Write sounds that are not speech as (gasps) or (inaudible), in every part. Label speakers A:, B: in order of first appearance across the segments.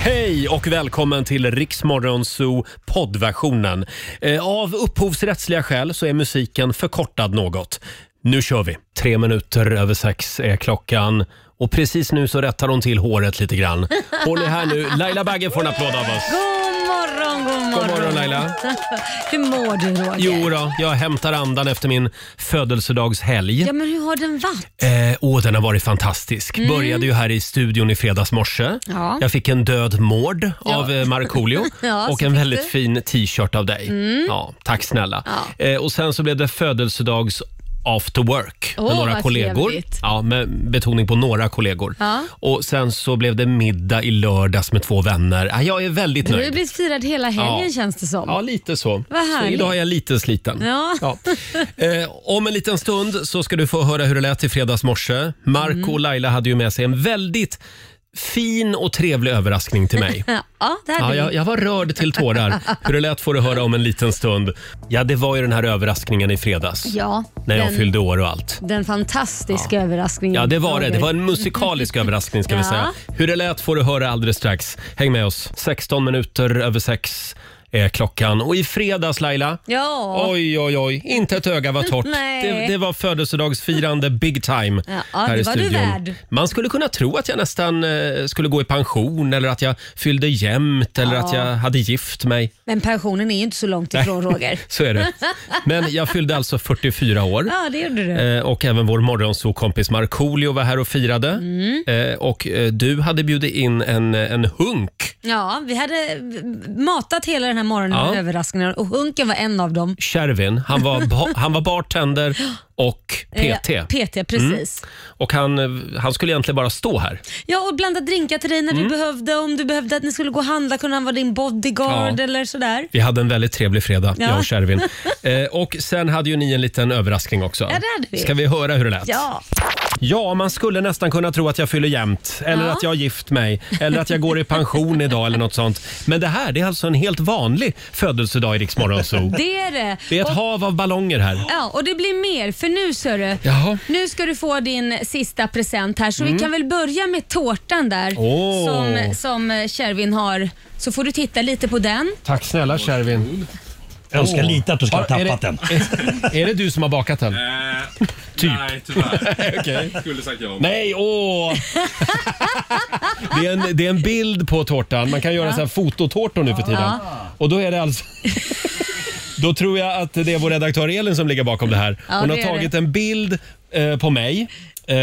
A: Hej och välkommen till Riksmorgon Zoo poddversionen. Eh, Av upphovsrättsliga skäl så är musiken förkortad något. Nu kör vi! Tre minuter över sex är klockan och precis nu så rättar hon till håret lite grann. Hon är här nu. Laila Bagge får en applåd av oss.
B: God morgon, god morgon.
A: God morgon, Laila.
B: (laughs) hur mår du Roger?
A: Jo då, jag hämtar andan efter min födelsedagshelg.
B: Ja, men hur har den varit?
A: Eh, åh, den har varit fantastisk.
B: Mm.
A: Började ju här i studion i fredags morse.
B: Ja.
A: Jag fick en död mård
B: Ja.
A: av eh, Markoolio
B: (laughs) Ja,
A: och
B: så
A: en
B: fick
A: väldigt
B: du.
A: fin t-shirt av dig.
B: Mm.
A: Ja, tack snälla.
B: Ja.
A: Eh, och sen så blev det födelsedags after work med
B: Åh,
A: några
B: vad
A: kollegor.
B: trevligt.
A: Ja, med betoning på några kollegor.
B: Ja.
A: Och sen så blev det middag i lördags med två vänner. Ah, jag är väldigt
B: Du har ju
A: nöjd.
B: blivit firad hela helgen
A: Ja.
B: känns det som.
A: Ja, lite så.
B: Vad
A: så
B: härligt.
A: idag är jag lite sliten.
B: Ja.
A: Eh, om en liten stund så ska du få höra hur det lät i fredags morse. Marco
B: Mm.
A: och Laila hade ju med sig en väldigt fin och trevlig överraskning till mig.
B: (laughs) ja, det hade
A: Ja,
B: vi.
A: jag, jag var rörd till tårar. Hur det lät får du höra om en liten stund. Ja, det var ju den här överraskningen i fredags.
B: Ja,
A: När jag
B: den,
A: fyllde år och allt.
B: Den fantastiska överraskningen.
A: Ja, det var det. Det
B: Roger.
A: var en musikalisk överraskning ska vi
B: Ja.
A: säga. Hur det lät får du höra alldeles strax. Häng med oss. 16 minuter över sex är klockan. Och i fredags Laila,
B: Ja.
A: Oj, oj, oj. Inte ett öga var torrt.
B: (laughs) Nej.
A: Det, det var födelsedagsfirande big time
B: Ja, ja,
A: här
B: det
A: i
B: var du
A: studion.
B: värd.
A: Man skulle kunna tro att jag nästan eh, skulle gå i pension eller att jag fyllde jämnt eller
B: Ja.
A: att jag hade gift mig.
B: Men pensionen är ju inte så långt
A: (laughs)
B: ifrån Roger.
A: Så är
B: (laughs)
A: det. Men jag fyllde alltså 44 år.
B: Ja, det gjorde du.
A: Eh, och även vår morgonsokompis Markoolio var här och firade.
B: Mm.
A: Eh, och eh, du hade bjudit in en, en hunk.
B: Ja, vi hade matat hela den här morgonen
A: Ja.
B: med överraskningar och Hunken var en av dem.
A: Kärvin, han var, ba- (laughs) han var bartender och PT.
B: Eh, PT, precis.
A: Och han, eh, han skulle egentligen bara stå här.
B: Ja, och blanda drinkar till dig när
A: Mm.
B: du behövde. Om du behövde att ni skulle gå och handla kunde han vara din bodyguard
A: Ja.
B: eller sådär.
A: Vi hade en väldigt trevlig fredag,
B: Ja.
A: jag och
B: (laughs)
A: Kärvin. Eh, och sen hade ju ni en liten överraskning också.
B: Ja, det hade vi.
A: Ska vi höra hur det lät?
B: Ja.
A: Ja, man skulle nästan kunna tro att jag fyller jämnt eller
B: Ja.
A: att jag har gift mig eller att jag går i pension idag eller något sånt. Men det här, det är alltså en helt vanlig födelsedag i Rix Morgon Zoo.
B: Det är det.
A: Det är ett
B: och,
A: hav av ballonger här.
B: ja, och det blir mer, för nu sörru,
A: Jaha.
B: nu ska du få din sista present här. Så
A: Mm.
B: vi kan väl börja med tårtan där
A: Åh.
B: som, som Kärvin har. Så får du titta lite på den.
A: Tack snälla Kärvin.
C: Jag önskar lite att du skulle ha
A: Har- är
C: tappat
A: det, (laughs) Är, är det du som har bakat den? typ.
D: Eh, Nej,
E: (laughs)
D: tyvärr.
A: Okej.
D: Skulle sagt ja.
A: Nej, åh! det, är en, det är en bild på tårtan. Man kan göra
D: Ja.
A: så här fototårtor nu för tiden.
D: Ja.
A: Och då är det alltså... Då tror jag att det är vår redaktör Elin som ligger bakom det här.
D: Ja,
A: hon
D: det
A: har
D: är
A: tagit
D: det.
A: en bild eh, på mig eh,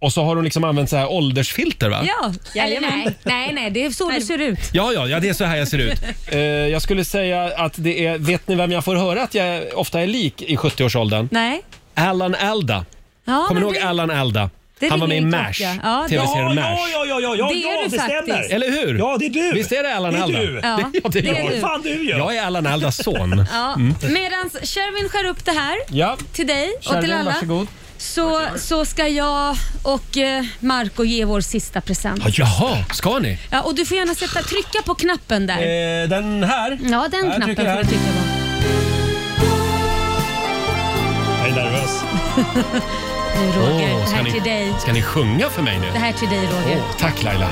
A: och så har hon liksom använt så här åldersfilter va?
B: Ja, eller nej, nej, nej, det är så du ser ut.
A: Ja, ja, ja, det är så här jag ser ut. Eh, jag skulle säga att det är, vet ni vem jag får höra att jag ofta är lik i 70-årsåldern?
B: Nej.
A: Alan Alda.
B: Ja,
A: Kommer ni
B: men
A: ihåg
B: det-
A: Alan Alda?
B: det
A: Han var med i
B: ringer en
A: MASH,
B: klocka. Ja, det-
A: tv-serien
C: Ja,
A: MASH.
C: ja, ja, ja, ja,
B: Det är
C: ja,
B: du
C: det
B: faktiskt.
C: stämmer.
A: Eller hur?
C: Ja, det är du.
A: Visst är det Alan
C: Det är
A: Alda?
C: du.
B: Ja, det är du.
C: fan du gör.
A: Jag är Allan Aldas son.
B: Ja.
A: Mm.
B: Medan Kärvin skär upp det här
A: Ja.
B: till dig och
A: Kärvin,
B: till alla.
A: varsågod.
B: Så, så ska jag och eh, Marco ge vår sista present.
A: Ja, Jaha, ska ni?
B: Ja, och du får gärna sätta, trycka på knappen där.
A: Eh, den här?
B: Ja, den
A: Ja, jag
B: knappen
A: trycker
B: får
A: här.
B: du trycka på.
C: Jag är nervös.
B: Nu Roger,
A: Åh,
B: det
A: ska,
B: här till
A: ni,
B: dig.
A: ska ni sjunga för mig nu?
B: Det här till dig Roger.
A: Åh, tack Laila.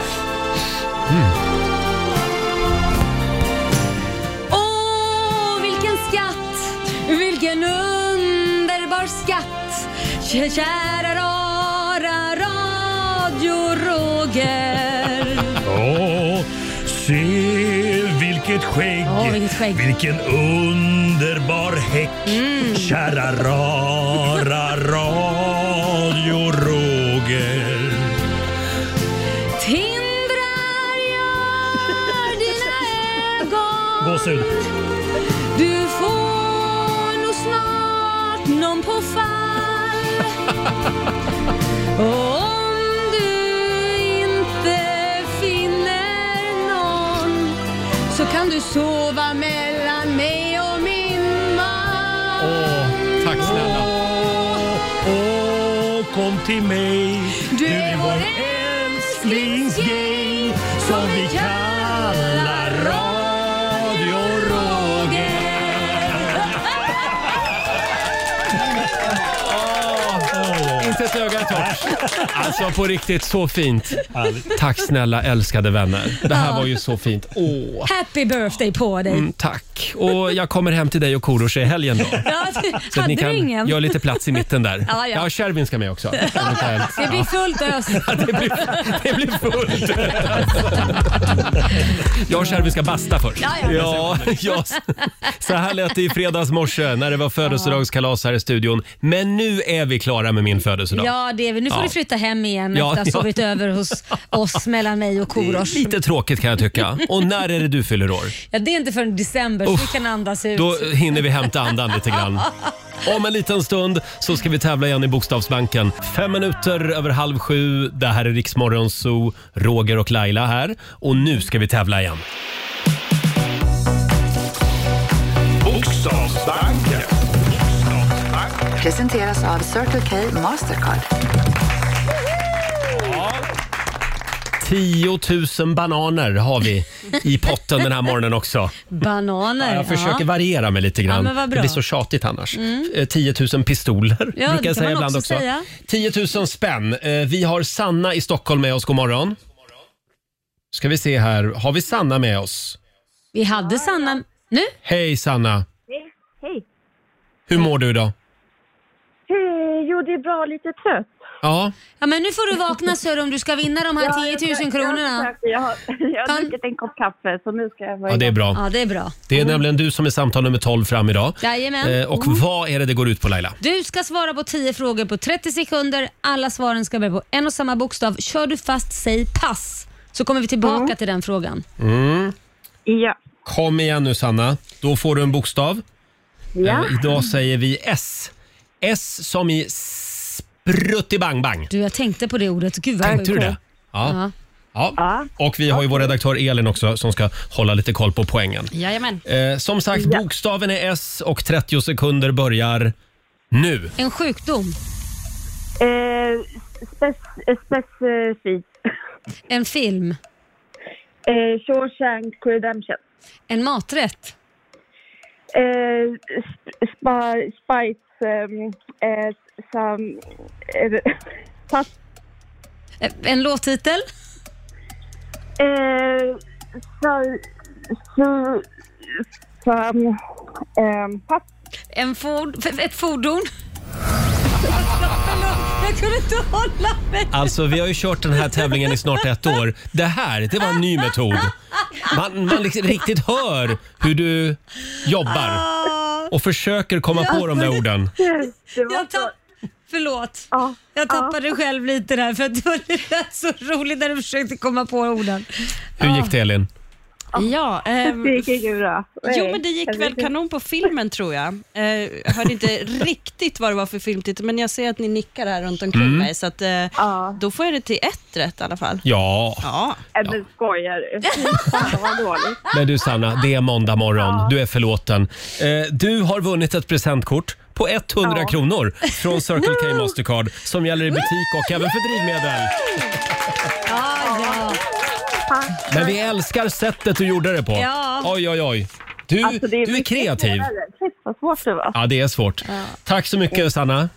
B: Åh, vilken skatt! Vilken underbar skatt! Kä- Kära rara radio Roger.
C: Åh, se vilket skägg.
B: Åh, vilket skägg. Mm.
C: Vilken underbar häck. Kära rara radio Roger.
B: Tindrar gör dina ögon.
C: Gåshud.
B: Du får nog snart någon på
A: (laughs)
B: fall. Och om du inte finner någon så kan du sova mellan mig och min man.
C: Åh,
A: tack snälla.
C: Åh, åh, kom till mig. Du är vår älsklingsgäng som vi kallar Radio Roger.
A: Inte ett öga är torrt. Alltså på riktigt, så fint. Tack snälla älskade vänner. Det här
B: Ja.
A: var ju så fint. Åh.
B: Happy birthday på dig.
A: Mm, tack. Och jag kommer hem till dig och Korosh i helgen då.
B: Ja,
A: Så att
B: hade
A: ni
B: du
A: kan
B: ingen?
A: göra lite plats i mitten där.
B: Ja, (laughs) ja.
A: Kärvin ska med också. eventuellt.
B: Det blir
A: (laughs)
B: fullt ös.
A: Det blir, det blir fullt. Jag och Kärvin ska basta först.
B: Ja, ja.
A: (laughs) ja. Så här lät det i fredags morse när det var födelsedagskalas här i studion. Men nu är vi klara med min födelsedag.
B: Ja, det är, vi. nu får
A: Ja.
B: du flytta hem igen
A: Ja,
B: efter att ha
A: ja.
B: sovit över hos oss mellan mig och Korosh.
A: Lite tråkigt kan jag tycka. Och när är det du fyller år?
B: Ja, det är inte förrän december så
A: Uff,
B: vi kan andas ut.
A: Då hinner vi hämta andan lite grann. Om en liten stund så ska vi tävla igen i Bokstavsbanken. Fem minuter över halv sju. Det här är Riksmorgon Zoo. Roger och Laila här. Och nu ska vi tävla igen.
D: Bokstavsbanken.
F: Presenteras av Circle K Mastercard.
A: 10 000 bananer har vi i potten den här morgonen också.
B: Bananer.
A: Jag försöker variera mig lite
B: Ja,
A: grann.
B: men vad bra. Mm.
A: det blir så tjatigt annars. Eh, 10 000 pistoler brukar
B: det kan
A: jag säga
B: man
A: ibland också.
B: också säga.
A: 10 000 spänn. Eh, Vi har Sanna i Stockholm med oss. God morgon. Ska vi se här. Har vi Sanna med oss?
B: Vi hade Sanna... Nu?
A: Hej Sanna.
G: Hej.
A: Hur mår du idag?
G: Hej, jo det är bra, lite trött.
A: Ja,
B: Ja, men nu får du vakna Sör om du ska vinna de här 10 000 kronorna.
G: Jag har, (laughs) jag har
B: Kan-
G: druckit en kopp kaffe så nu ska jag vara
A: ja det är bra.
B: Ja, det är bra.
A: Det är nämligen du som är samtal nummer 12 fram idag.
B: Jajamän.
A: Eh, Och vad är det det går ut på Laila?
B: Du ska svara på 10 frågor på 30 sekunder. Alla svaren ska börja på en och samma bokstav. Kör du fast, säg pass. Så kommer vi tillbaka till den frågan.
G: Ja.
A: Kom igen nu Sanna. Då får du en bokstav.
G: ja.
A: Eh, Idag säger vi S. S som i spruttibang-bang.
B: Du, jag tänkte på det ordet. Gud vad
A: Tänkte du
B: sjukt.
A: det? Ja.
B: Ja.
G: Ja.
A: ja. Och vi har ju vår redaktör Elin också som ska hålla lite koll på poängen.
B: Jajamän.
A: Eh, som sagt, bokstaven är S och 30 sekunder börjar nu.
B: En sjukdom.
G: Eh, spec, eh, specifikt.
B: En film.
G: Eh, Shawshank Redemption.
B: En maträtt.
G: Eh, sp- spa, spice... ehm, Eh, sam, eh, (laughs) pass,
B: Eh, En låttitel.
G: eh, sa, su, sam, ehm, pass.
B: En ford, f- ett fordon. Förlåt, jag kunde inte hålla mig.
A: Alltså vi har ju kört den här tävlingen i snart ett år. Det här, det var en ny metod. Man, man liksom riktigt hör hur du jobbar
G: Ah.
A: och försöker komma på de där orden.
G: Det var
B: Jag
G: så...
B: tapp, förlåt.
G: Ja,
B: Jag tappade själv lite där för att det var det lät så roligt när du försökte komma på orden.
A: Hur gick det Elin?
H: Ja, ehm,
G: det gick ju bra.
H: jo men det gick väl kanon på filmen tror jag. Eh, jag hörde inte
G: (laughs)
H: riktigt vad det var för filmtitel, men jag ser att ni nickar här runt omkring
A: Mm.
H: mig, så att, eh,
G: Ja.
H: då får jag det till ett rätt i alla fall.
A: Ja,
H: Ja,
G: Äh, men skojar du? Fy fan, vad dåligt.
A: men du Sanna, det är måndag morgon. Du är förlåten. Eh, Du har vunnit ett presentkort på 100
G: Ja.
A: kronor från Circle
B: (laughs)
A: K Mastercard som gäller i butik och även för drivmedel.
B: Ja, ja.
G: Tack.
A: Men vi älskar sättet du gjorde det på.
B: Ja.
A: Oj, oj, oj. Du,
G: Alltså, det
A: du är
G: mycket
A: kreativ.
G: svårare. Shit, vad svårt det var.
A: Ja, det är svårt. Tack så mycket Sanna.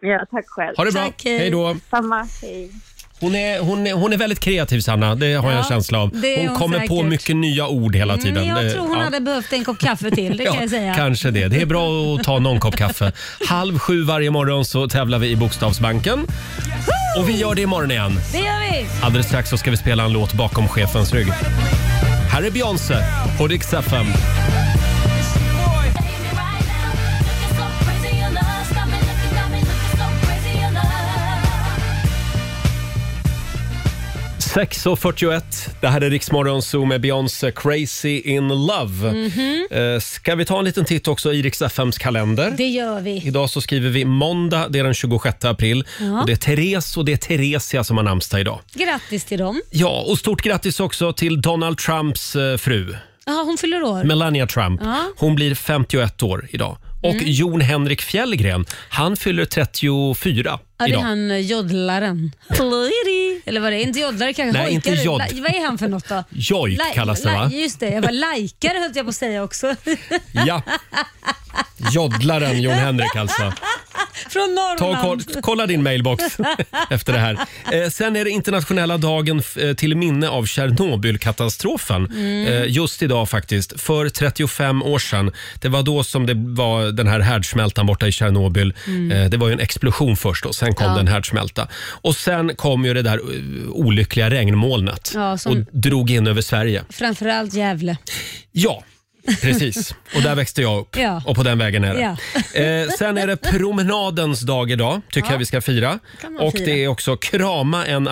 G: Ja, tack själv.
A: Ha det bra.
B: Tack, hej.
A: Hej då.
G: Samma. Hej.
A: Hon är, hon, är, hon är väldigt kreativ Sanna, det har jag en
B: Ja,
A: känsla av.
B: det är
A: Hon
B: hon
A: kommer på
B: säkert.
A: mycket nya ord hela tiden.
B: Men
A: Det-
B: Mm, jag tror hon
A: ja.
B: hade behövt en kopp kaffe
A: (laughs)
B: till, det kan jag säga.
A: Kanske det. Det är bra att ta någon kopp
B: (laughs)
A: kaffe. Halv sju varje morgon så tävlar vi i Bokstavsbanken. Och vi gör det imorgon igen.
B: Det gör vi!
A: Alldeles strax så ska vi spela en låt bakom chefens rygg. Här är Beyoncé på Rix FM.
E: Hej
A: 6.41, det här är Riksmorgon Zoo med Beyoncé, Crazy in Love. Eh, Ska vi ta en liten titt också i Rix FMs kalender?
B: Mhm. Det gör vi.
A: Idag så skriver vi måndag, det är den 26 april. Och det är Therese och det är Theresia som har namnsdag idag.
B: Grattis till dem.
A: Ja, och stort grattis också till Donald Trumps eh, fru,
B: Ja, hon fyller år.
A: Melania Trump.
B: Ja. Mm.
A: Hon blir 51 år idag. Och Jon Henrik Fjällgren, han fyller 34
B: Ja, det är
A: idag.
B: han eh, joddlaren. Lady. Eller vad det är, inte joddlare kanske.
A: Nej,
B: hojkare.
A: inte jodd.
B: La- Vad är han för något då?
A: Jojk
B: La-
A: kallas det,
B: la-
A: va?
B: Just det, jag var lajkare höll jag (laughs) på att säga också.
A: Ja. Joddlaren Jon Henrik alltså.
B: Från
A: Ta och
B: Norrland.
A: kolla, kolla din
B: (laughs)
A: mailbox efter det här. Eh, sen är det internationella dagen f- eh, till minne av Tjernobylkatastrofen.
D: Mm.
A: Eh, just idag faktiskt, för 35 år sedan. Det var då som det var den här härdsmältan borta i Tjernobyl.
D: Mm.
A: Eh, det var ju en explosion först och sen kom
B: Ja.
A: den den härdsmälta. Och sen kom ju det där eh, olyckliga regnmolnet
B: Ja, som-
A: och drog in över Sverige.
B: Framförallt Gävle.
A: Ja, precis. Och där växte jag upp.
B: Ja.
A: Och på den vägen är det.
B: Ja.
A: Eh, sen är det promenadens dag idag, tycker
B: Ja.
A: jag vi ska fira.
B: Kan man
A: Och
B: fira.
A: det är också krama en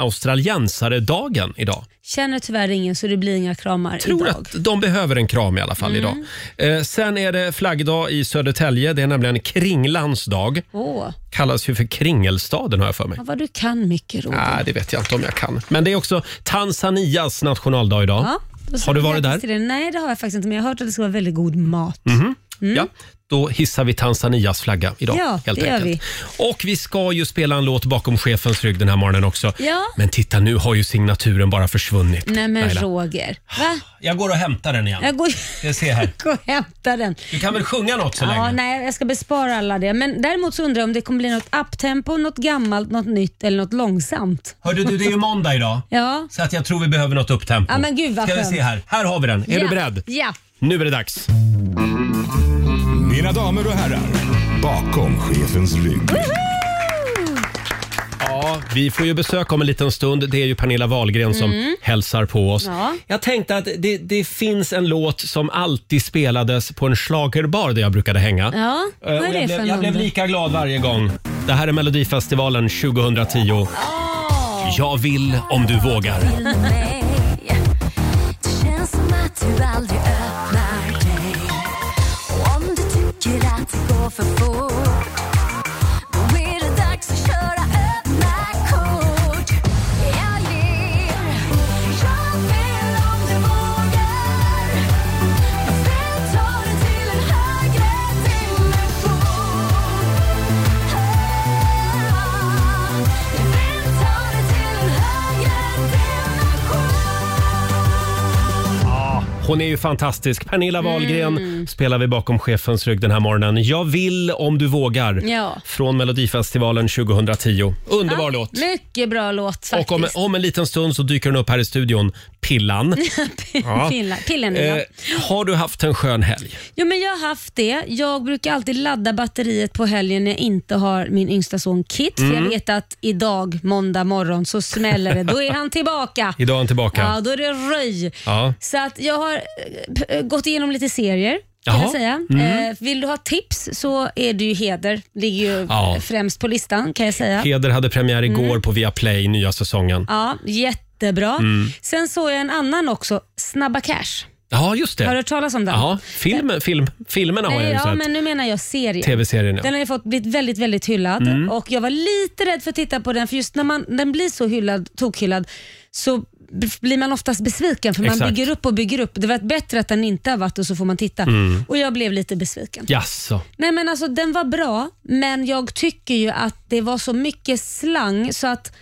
A: australiensare-dagen idag.
B: Känner tyvärr ingen så det blir inga kramar
A: Tror
B: idag. Mm.
A: att de behöver en kram i alla fall idag. Eh, sen är det flaggdag i Södertälje. Det är nämligen Kringlans dag.
B: Åh,
A: Kallas ju för Kringelstaden har jag för mig.
B: ja, vad du kan mycket Roger.
A: Nej, det vet jag inte om jag kan. Men det är också Tanzanias nationaldag idag.
B: Ja, då säger
A: har du
B: vi
A: varit
B: grattis
A: där?
B: till Det. Nej, det har jag faktiskt inte, men jag har hört att det ska vara väldigt god mat.
A: Mhm. Ja, då hissar vi Tanzanias flagga idag.
B: Mm. Ja,
A: helt
B: det gör
A: enkelt. Och vi ska ju spela en låt bakom chefens rygg den här morgonen också.
B: Ja.
A: Men titta, nu har ju signaturen bara försvunnit.
B: Nej men
A: Laila.
B: Roger. Va?
A: Jag går och hämtar den igen. (laughs)
B: Jag går,
A: Jag ser här.
B: går och hämtar den.
A: Du kan väl sjunga något så
B: Ja,
A: länge?
B: nej, jag ska bespara alla det. Men däremot så undrar jag om det kommer bli något upptempo, något gammalt, något nytt eller något långsamt.
A: Hörde du, det är ju måndag idag.
B: Ja.
A: Så att jag tror vi behöver något upptempo.
B: Ja, men gud, vad
A: Ska vi
B: skönt.
A: se här. Här har vi den. Är
B: ja.
A: du beredd?
B: Ja.
A: Nu är det dags.
E: Mina damer och herrar, bakom chefens rygg.
A: Ja, vi får ju besök om en liten stund. Det är ju Pernilla Wahlgren som
D: Mm.
A: hälsar på oss.
D: Ja.
A: Jag tänkte att det, det finns en låt som alltid spelades på en schlagerbar där jag brukade hänga.
B: Ja,
A: Eh,
B: vad
A: och
B: är
A: jag,
B: det för
A: blev, jag blev
B: nummer?
A: lika glad varje gång. Det här är Melodifestivalen 2010. Jag vill om du vågar.
D: till mig. Det känns som att du aldrig öppnar dig. Och om du tycker att det går för fort, då är det dags att köra öppna kort. Jag vill, jag vill om du vågar. Jag vill ta dig till en högre dimension. Ah, Jag vill ta dig till en högre
A: Ja, hon är ju fantastisk. Pernilla
B: Mm.
A: Wahlgren spelar vi bakom chefens rygg den här morgonen. Jag vill om du vågar.
B: Ja.
A: Från Melodifestivalen 2010. Underbar
B: Ja,
A: låt.
B: Mycket bra låt faktiskt.
A: Och om,
B: (laughs)
A: om en liten stund så dyker den upp här i studion, Pillan. Ja.
B: Pillan, pillen, ja.
A: Eh, har du haft en skön helg?
B: Jo, men jag har haft det. Jag brukar alltid ladda batteriet på helgen när jag inte har min yngsta son Kit. För
A: Mm.
B: jag vet att idag, måndag morgon, så smäller det. Då är han tillbaka.
A: Idag är han (laughs) tillbaka.
B: Ja, då är det röj.
A: Ja.
B: Så att jag har eh, p- eh, gått igenom lite serier. Kan
A: Jaha.
B: jag säga.
A: Mm.
B: Eh, vill du ha tips så är det ju Heder. Ligger ju
A: Ja.
B: främst på listan kan jag säga.
A: Heder hade premiär igår
B: Mm.
A: på Viaplay, nya säsongen.
B: Ja, jättebra.
A: Mm.
B: Sen såg jag en annan också, Snabba Cash.
A: Ja, just det.
B: Har du hört talas om den?
A: Ja, filmen, film, filmerna har
B: Nej,
A: jag ju
B: ja,
A: sett.
B: men nu menar jag serien.
A: TV-serien, ja.
B: Den har ju fått, blivit väldigt, väldigt hyllad
A: Mm.
B: och jag var lite rädd för att titta på den för just när man, den blir så hyllad, tokhyllad så b- blir man oftast besviken för man
A: Exakt.
B: bygger upp och bygger upp. Det var bättre att den inte har varit och så får man titta.
A: Mm.
B: Och jag blev lite besviken.
A: Jaså?
B: Nej men alltså den var bra men jag tycker ju att det var så mycket slang så att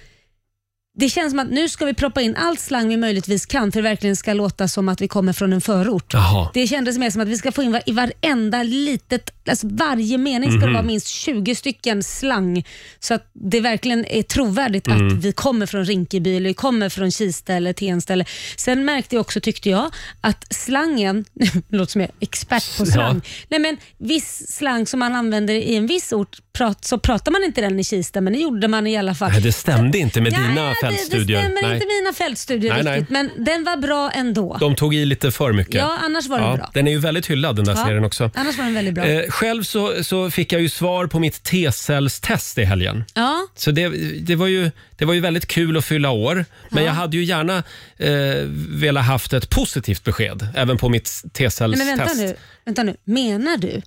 B: det känns som att nu ska vi proppa in allt slang vi möjligtvis kan för det verkligen ska låta som att vi kommer från en förort.
A: Jaha.
B: Det kändes mer som att vi ska få in var- i varenda litet, alltså varje mening ska det
A: Mhm.
B: vara minst 20 stycken slang så att det verkligen är trovärdigt
A: Mm.
B: att vi kommer från Rinkeby eller vi kommer från Kista eller Tensta. Eller. Sen märkte jag också, tyckte jag, att slangen, (laughs) det låter som jag är expert på
D: Ja.
B: slang, Nej, men viss slang som man använder i en viss ort prat, så pratar man inte den i Kista, men det gjorde man i alla fall.
A: Nej, det stämde inte med
B: Ja,
A: dina
B: Det,
A: fältstudier.
B: det stämmer
A: Nej.
B: inte mina fältstudier
A: Nej, nej.
B: riktigt, men den var bra ändå.
A: De tog i lite för mycket.
B: Ja, annars var den bra.
A: Den är ju väldigt hyllad den där
B: Ja,
A: serien också.
B: Annars var den väldigt bra.
A: Eh, själv så, så fick jag ju svar på mitt T-cellstest i helgen.
B: ja.
A: Så det, det, var ju, det var ju väldigt kul att fylla år, men
B: Ja.
A: jag hade ju gärna eh, velat haft ett positivt besked även på mitt
B: Nej, men vänta
A: T-cellstest.
B: nu, vänta nu. Menar du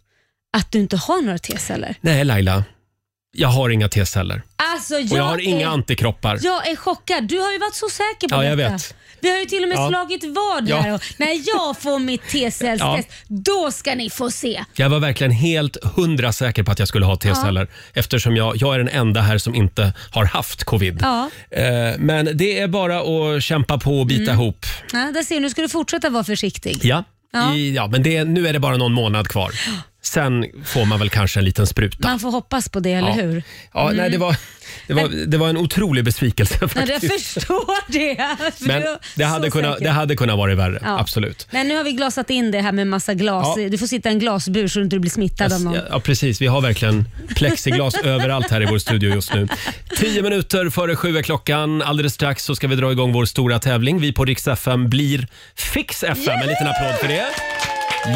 B: att du inte har några T-celler?
A: Nej, Laila. Jag har inga T-celler.
B: Alltså, jag,
A: Och jag har
B: är,
A: inga antikroppar.
B: Jag är chockad. Du har ju varit så säker på
A: Ja, jag
B: detta.
A: vet.
B: Vi har ju till och med
A: Ja.
B: slagit vad
A: Ja.
B: här. Och, när jag får mitt T-cellstest, då ska ni få se.
A: Jag var verkligen helt hundra säker på att jag skulle ha T-celler eftersom jag, jag är den enda här som inte har haft covid.
B: Ja.
A: Eh, Men det är bara att kämpa på och bita
B: Mm.
A: ihop.
B: Ja, där ser du, nu ska du fortsätta vara försiktig.
A: Ja.
B: Ja. (gasps)
A: I, ja men det, nu är det bara någon månad kvar. Sen får man väl kanske en liten spruta.
B: Man får hoppas på det, eller
A: Ja.
B: hur?
A: Ja, nej,
B: Mm.
A: det, var, det, var, det var en otrolig besvikelse
B: Nej,
A: (laughs)
B: jag
A: faktiskt.
B: förstår det. för
A: Men
B: du var
A: det hade,
B: så
A: kunnat,
B: säker.
A: det hade kunnat vara värre,
B: Ja.
A: absolut.
B: Men nu har vi glasat in det här med massa glas.
A: Ja.
B: Du får sitta i en glasbur så du inte blir smittad av någon.
A: Ja, ja, precis. Vi har verkligen
B: (laughs)
A: plexiglas överallt här i vår studio just nu. Tio minuter före sju är klockan. Alldeles strax så ska vi dra igång vår stora tävling. Vi på Rix FM blir Fix FM. En liten applåd för det.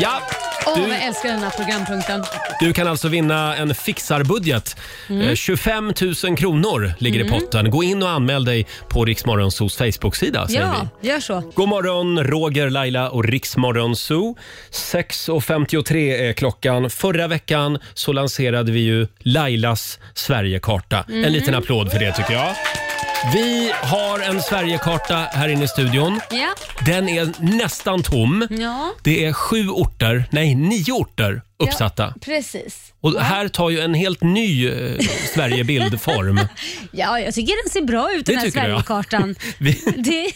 A: Ja!
I: Åh,
A: Du-
I: vad jag älskar den här programpunkten.
A: Du kan alltså vinna en fixarbudget.
B: Mm.
A: Eh, 25 000 kronor ligger i potten. Gå in och anmäl dig på Riksmorgonsos Facebook-sida säger
B: Ja,
A: vi.
B: gör så.
A: God morgon, Roger, Laila och Riksmorgon Zoo. 6.53 är klockan. Förra veckan så lanserade vi ju Lailas Sverigekarta.
B: Mm.
A: En liten applåd för det tycker jag. Vi har en Sverigekarta här inne i studion.
B: Ja.
A: Den är nästan tom.
B: Ja.
A: Det är sju orter, nej nio orter uppsatta.
B: Precis.
A: Och här tar ju en helt ny eh, Sverigebild
B: (laughs)
A: form.
B: Ja, jag tycker den ser bra ut den
A: Det
B: här
A: tycker du, ja. (laughs)
B: Sverigekartan.
A: Vi,
B: Det...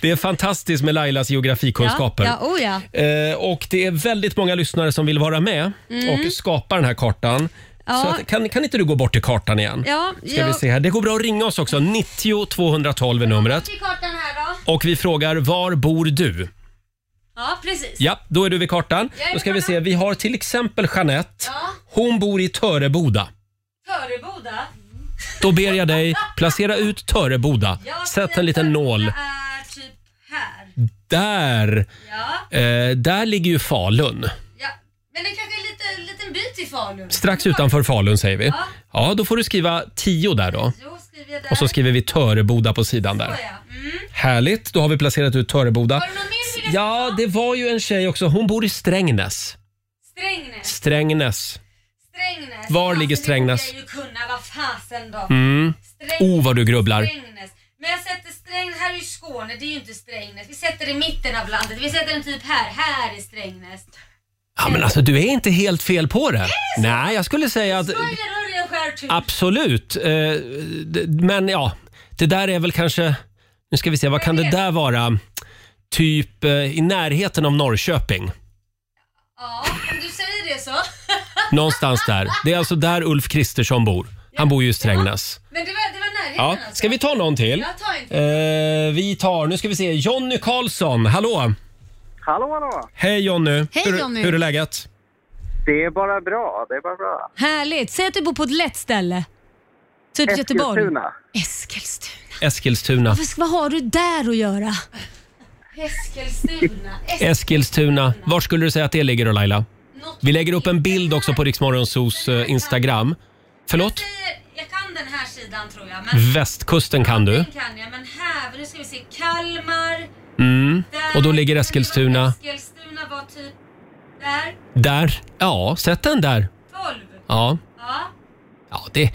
A: det är fantastiskt med Lailas geografikunskaper.
B: Ja, ja, oh ja.
A: Eh, och det är väldigt många lyssnare som vill vara med och skapa den här kartan.
B: Mm. Ja.
A: Så att, kan, kan inte du gå bort till kartan igen?
B: Ja,
A: Ska vi se här. Det går bra att ringa oss också. 90 212 är numret.
B: kartan här då.
A: Och vi frågar var bor du?
B: Ja, precis.
A: Ja, då är du vid kartan.
B: Jag är
A: Då
B: vid
A: ska vi
B: kartan.
A: se. Vi har till exempel Jeanette.
B: Ja.
A: Hon bor i Töreboda.
B: Töreboda.
A: Då ber jag dig placera ut Töreboda. Sätt en liten nål.
B: är typ här.
A: Där,
B: Ja.
A: eh, där ligger ju Falun.
B: Ja, men det kanske är en liten, liten by till Falun.
A: Strax utanför Falun säger vi. Ja, då får du skriva 10 där då.
B: Jo, skriver jag där.
A: Och så skriver vi Töreboda på sidan där.
B: ja. Mm.
A: Härligt, då har vi placerat ut Töreboda.
B: Har du någon mer du vill
A: Ja, det var ju en tjej också. Hon bor i Strängnäs.
B: Strängnäs.
A: Strängnäs.
B: Strängnäs.
A: Var ligger
B: det borde
A: Strängnäs?
B: Jag ju kunna, vad fasen då.
A: Mm.
B: Strängnäs.
A: Oh, vad du grubblar.
B: Strängnäs. Men jag sätter Strängnäs, här är ju Skåne, det är ju inte Strängnäs. Vi sätter det i mitten av landet, vi sätter den typ här, här är Strängnäs.
A: Ja, men alltså du är inte helt fel på det. Nej, jag skulle säga att
B: Spoiler Örjenskär typ.
A: absolut. Eh, d- Men ja, det där är väl kanske... Nu ska vi se, vad kan det där vara? Typ eh, i närheten av Norrköping.
B: Ja, om du säger det så.
A: Någonstans där. Det är alltså där Ulf Kristersson bor. Han bor ju i Strängnäs.
B: Men det var, det var närheten
A: Ja.
B: alltså.
A: Ska vi ta någon till?
B: Jag tar inte.
A: Eh, vi tar, nu ska vi se, Jonny Karlsson. Hallå!
J: Hallå, hallå!
A: Hej Jonny!
I: Hej,
A: hur,
I: Jonny.
A: hur är läget?
J: Det är bara bra, det är bara bra.
B: Härligt, säg att du bor på ett lätt ställe. Typ Göteborg.
J: Eskilstuna.
B: Eskilstuna.
A: Eskilstuna.
B: Varför ska- Vad har du där att göra? Eskilstuna.
A: Eskilstuna. Var skulle du säga att det ligger då Laila? Vi lägger upp en bild också på Riksmorgonsos eh, Instagram. Förlåt?
B: Jag kan den här sidan tror jag. Men
A: Västkusten kan du.
B: Den kan jag, men här, nu ska vi se. Kalmar.
A: Mm.
B: Där.
A: Och då ligger Eskilstuna
B: Eskilstuna var typ där.
A: där. Ja, sätt den där.
B: 12.
A: Ja,
B: Ja.
A: ja det...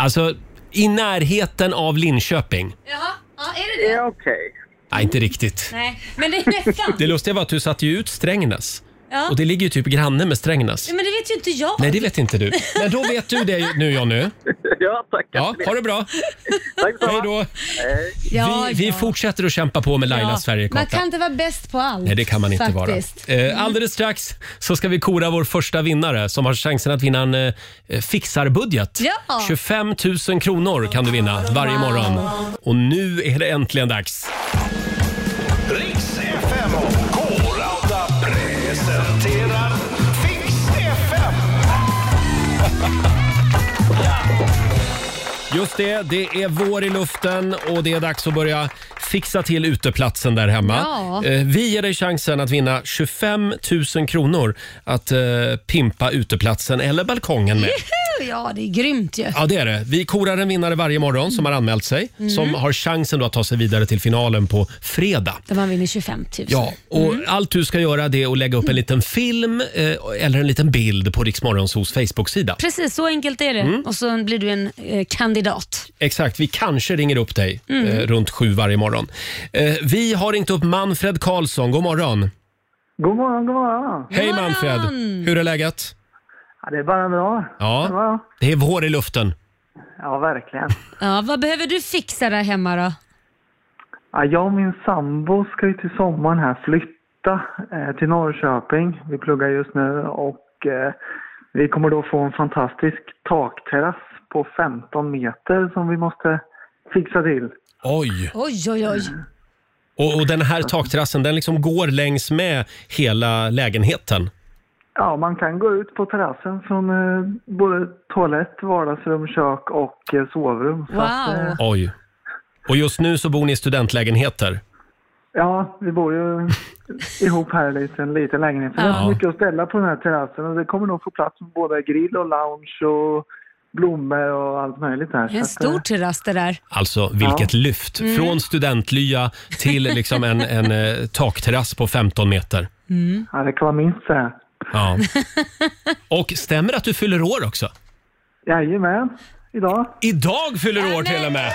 A: Alltså, i närheten av Linköping.
B: Jaha, ja, är det
J: Det
B: det?
J: är okej. (laughs)
A: Nej, inte riktigt.
B: Nej, men det är nästan.
A: Det lustiga var att du satte ju ut Strängnäs.
B: Ja.
A: (laughs) Och det ligger ju typ granne med Strängnäs.
B: Men det vet ju inte jag.
A: Nej, det vet inte du. Men då vet du det nu Jonny.
J: Ja, tackar
A: Ja,
J: för
A: ha det bra.
J: Tack så
A: Hej
J: mycket.
A: då.
I: Ja,
A: Vi, vi
I: ja.
A: fortsätter att kämpa på med Lailas
I: Ja. Man
A: Sverigekarta.
I: kan inte vara bäst på allt.
A: Nej, det kan man inte
I: faktiskt.
A: vara. Eh, alldeles strax så ska vi kora vår första vinnare som har chansen att vinna en eh, fixarbudget.
I: Ja.
A: 25 000 kronor kan du vinna varje morgon. Och nu är det äntligen dags.
E: Riks FM och K-Rauta presenterar Fix FM.
A: Just det, det är vår i luften och det är dags att börja fixa till uteplatsen där hemma.
I: Ja.
A: Eh, Vi ger dig chansen att vinna 25 000 kronor att eh, pimpa uteplatsen eller balkongen med.
B: Eh,
I: Ja, det är grymt ju.
A: Ja, det är det. Vi korar en vinnare varje morgon som har anmält sig, som har chansen då att ta sig vidare till finalen på fredag.
I: Där man vinner 25 000.
A: Ja, och allt du ska göra det är att lägga upp en liten film eh, eller en liten bild på Riksmorgonsos Facebook-sida.
B: Precis, så enkelt är det.
A: Mm.
B: Och så blir du en eh, kandidat.
A: Exakt, vi kanske ringer upp dig eh, runt sju varje morgon. Eh, vi har ringt upp Manfred Karlsson. God morgon!
J: God morgon, god morgon.
A: Hej Manfred! Hur är läget?
J: Ja, det är bara bra.
A: Ja,
J: Ja,
A: det är vår i luften.
J: ja verkligen.
B: Ja, vad behöver du fixa där hemma då?
J: Ja, jag och min sambo ska ju till sommaren här flytta eh, till Norrköping. Vi pluggar just nu och och eh, vi kommer då få en fantastisk takterrass på 15 meter som vi måste fixa till.
A: Oj!
I: Oj, oj, oj.
A: Och, och den här takterrassen, den liksom går längs med hela lägenheten.
J: Ja, man kan gå ut på terrassen från eh, både toalett, vardagsrum, kök och eh, sovrum. Så att, eh,
A: Oj. Och just nu så bor ni i studentlägenheter.
J: Ja, vi bor ju ihop här i en liten lägenhet. Så Det
A: Ja.
J: är mycket att ställa på den här terrassen och det kommer nog få plats med både grill och lounge och blommor och allt möjligt här.
B: En stor terrass det där.
A: Alltså vilket lyft!
B: Mm.
A: Från studentlya till liksom en, en eh, takterrass på 15 meter.
J: Mm. Ja, det kan vara minst så här.
A: (laughs) Ja. Och stämmer att du fyller år också?
J: Jajamän, idag.
A: Idag fyller du år till och med!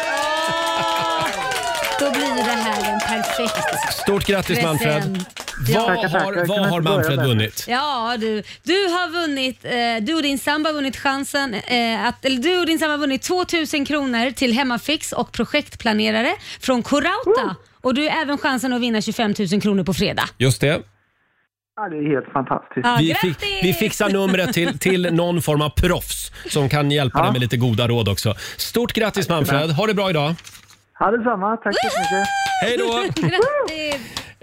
I: Då blir det här en perfekt
A: Stort grattis
I: present.
A: Manfred!
I: Ja.
A: Vad har, vad har Manfred vunnit?
B: Ja du, du har vunnit, eh, du och din sambo har vunnit chansen, eh, att, eller du och din sambo har vunnit 2000 kronor till Hemmafix och projektplanerare från Corauta. Och du har även chansen att vinna 25 000 kronor på fredag.
A: Just det.
J: Ja, det är helt fantastiskt.
B: Ja,
A: Vi,
B: grattis!
A: vi
B: (laughs)
A: fixar numret till, till någon form av proffs som kan hjälpa dig med lite goda råd också. Stort grattis Manfred! Ha det bra idag!
J: Ja, detsamma. Tack så mycket.
A: Hej då!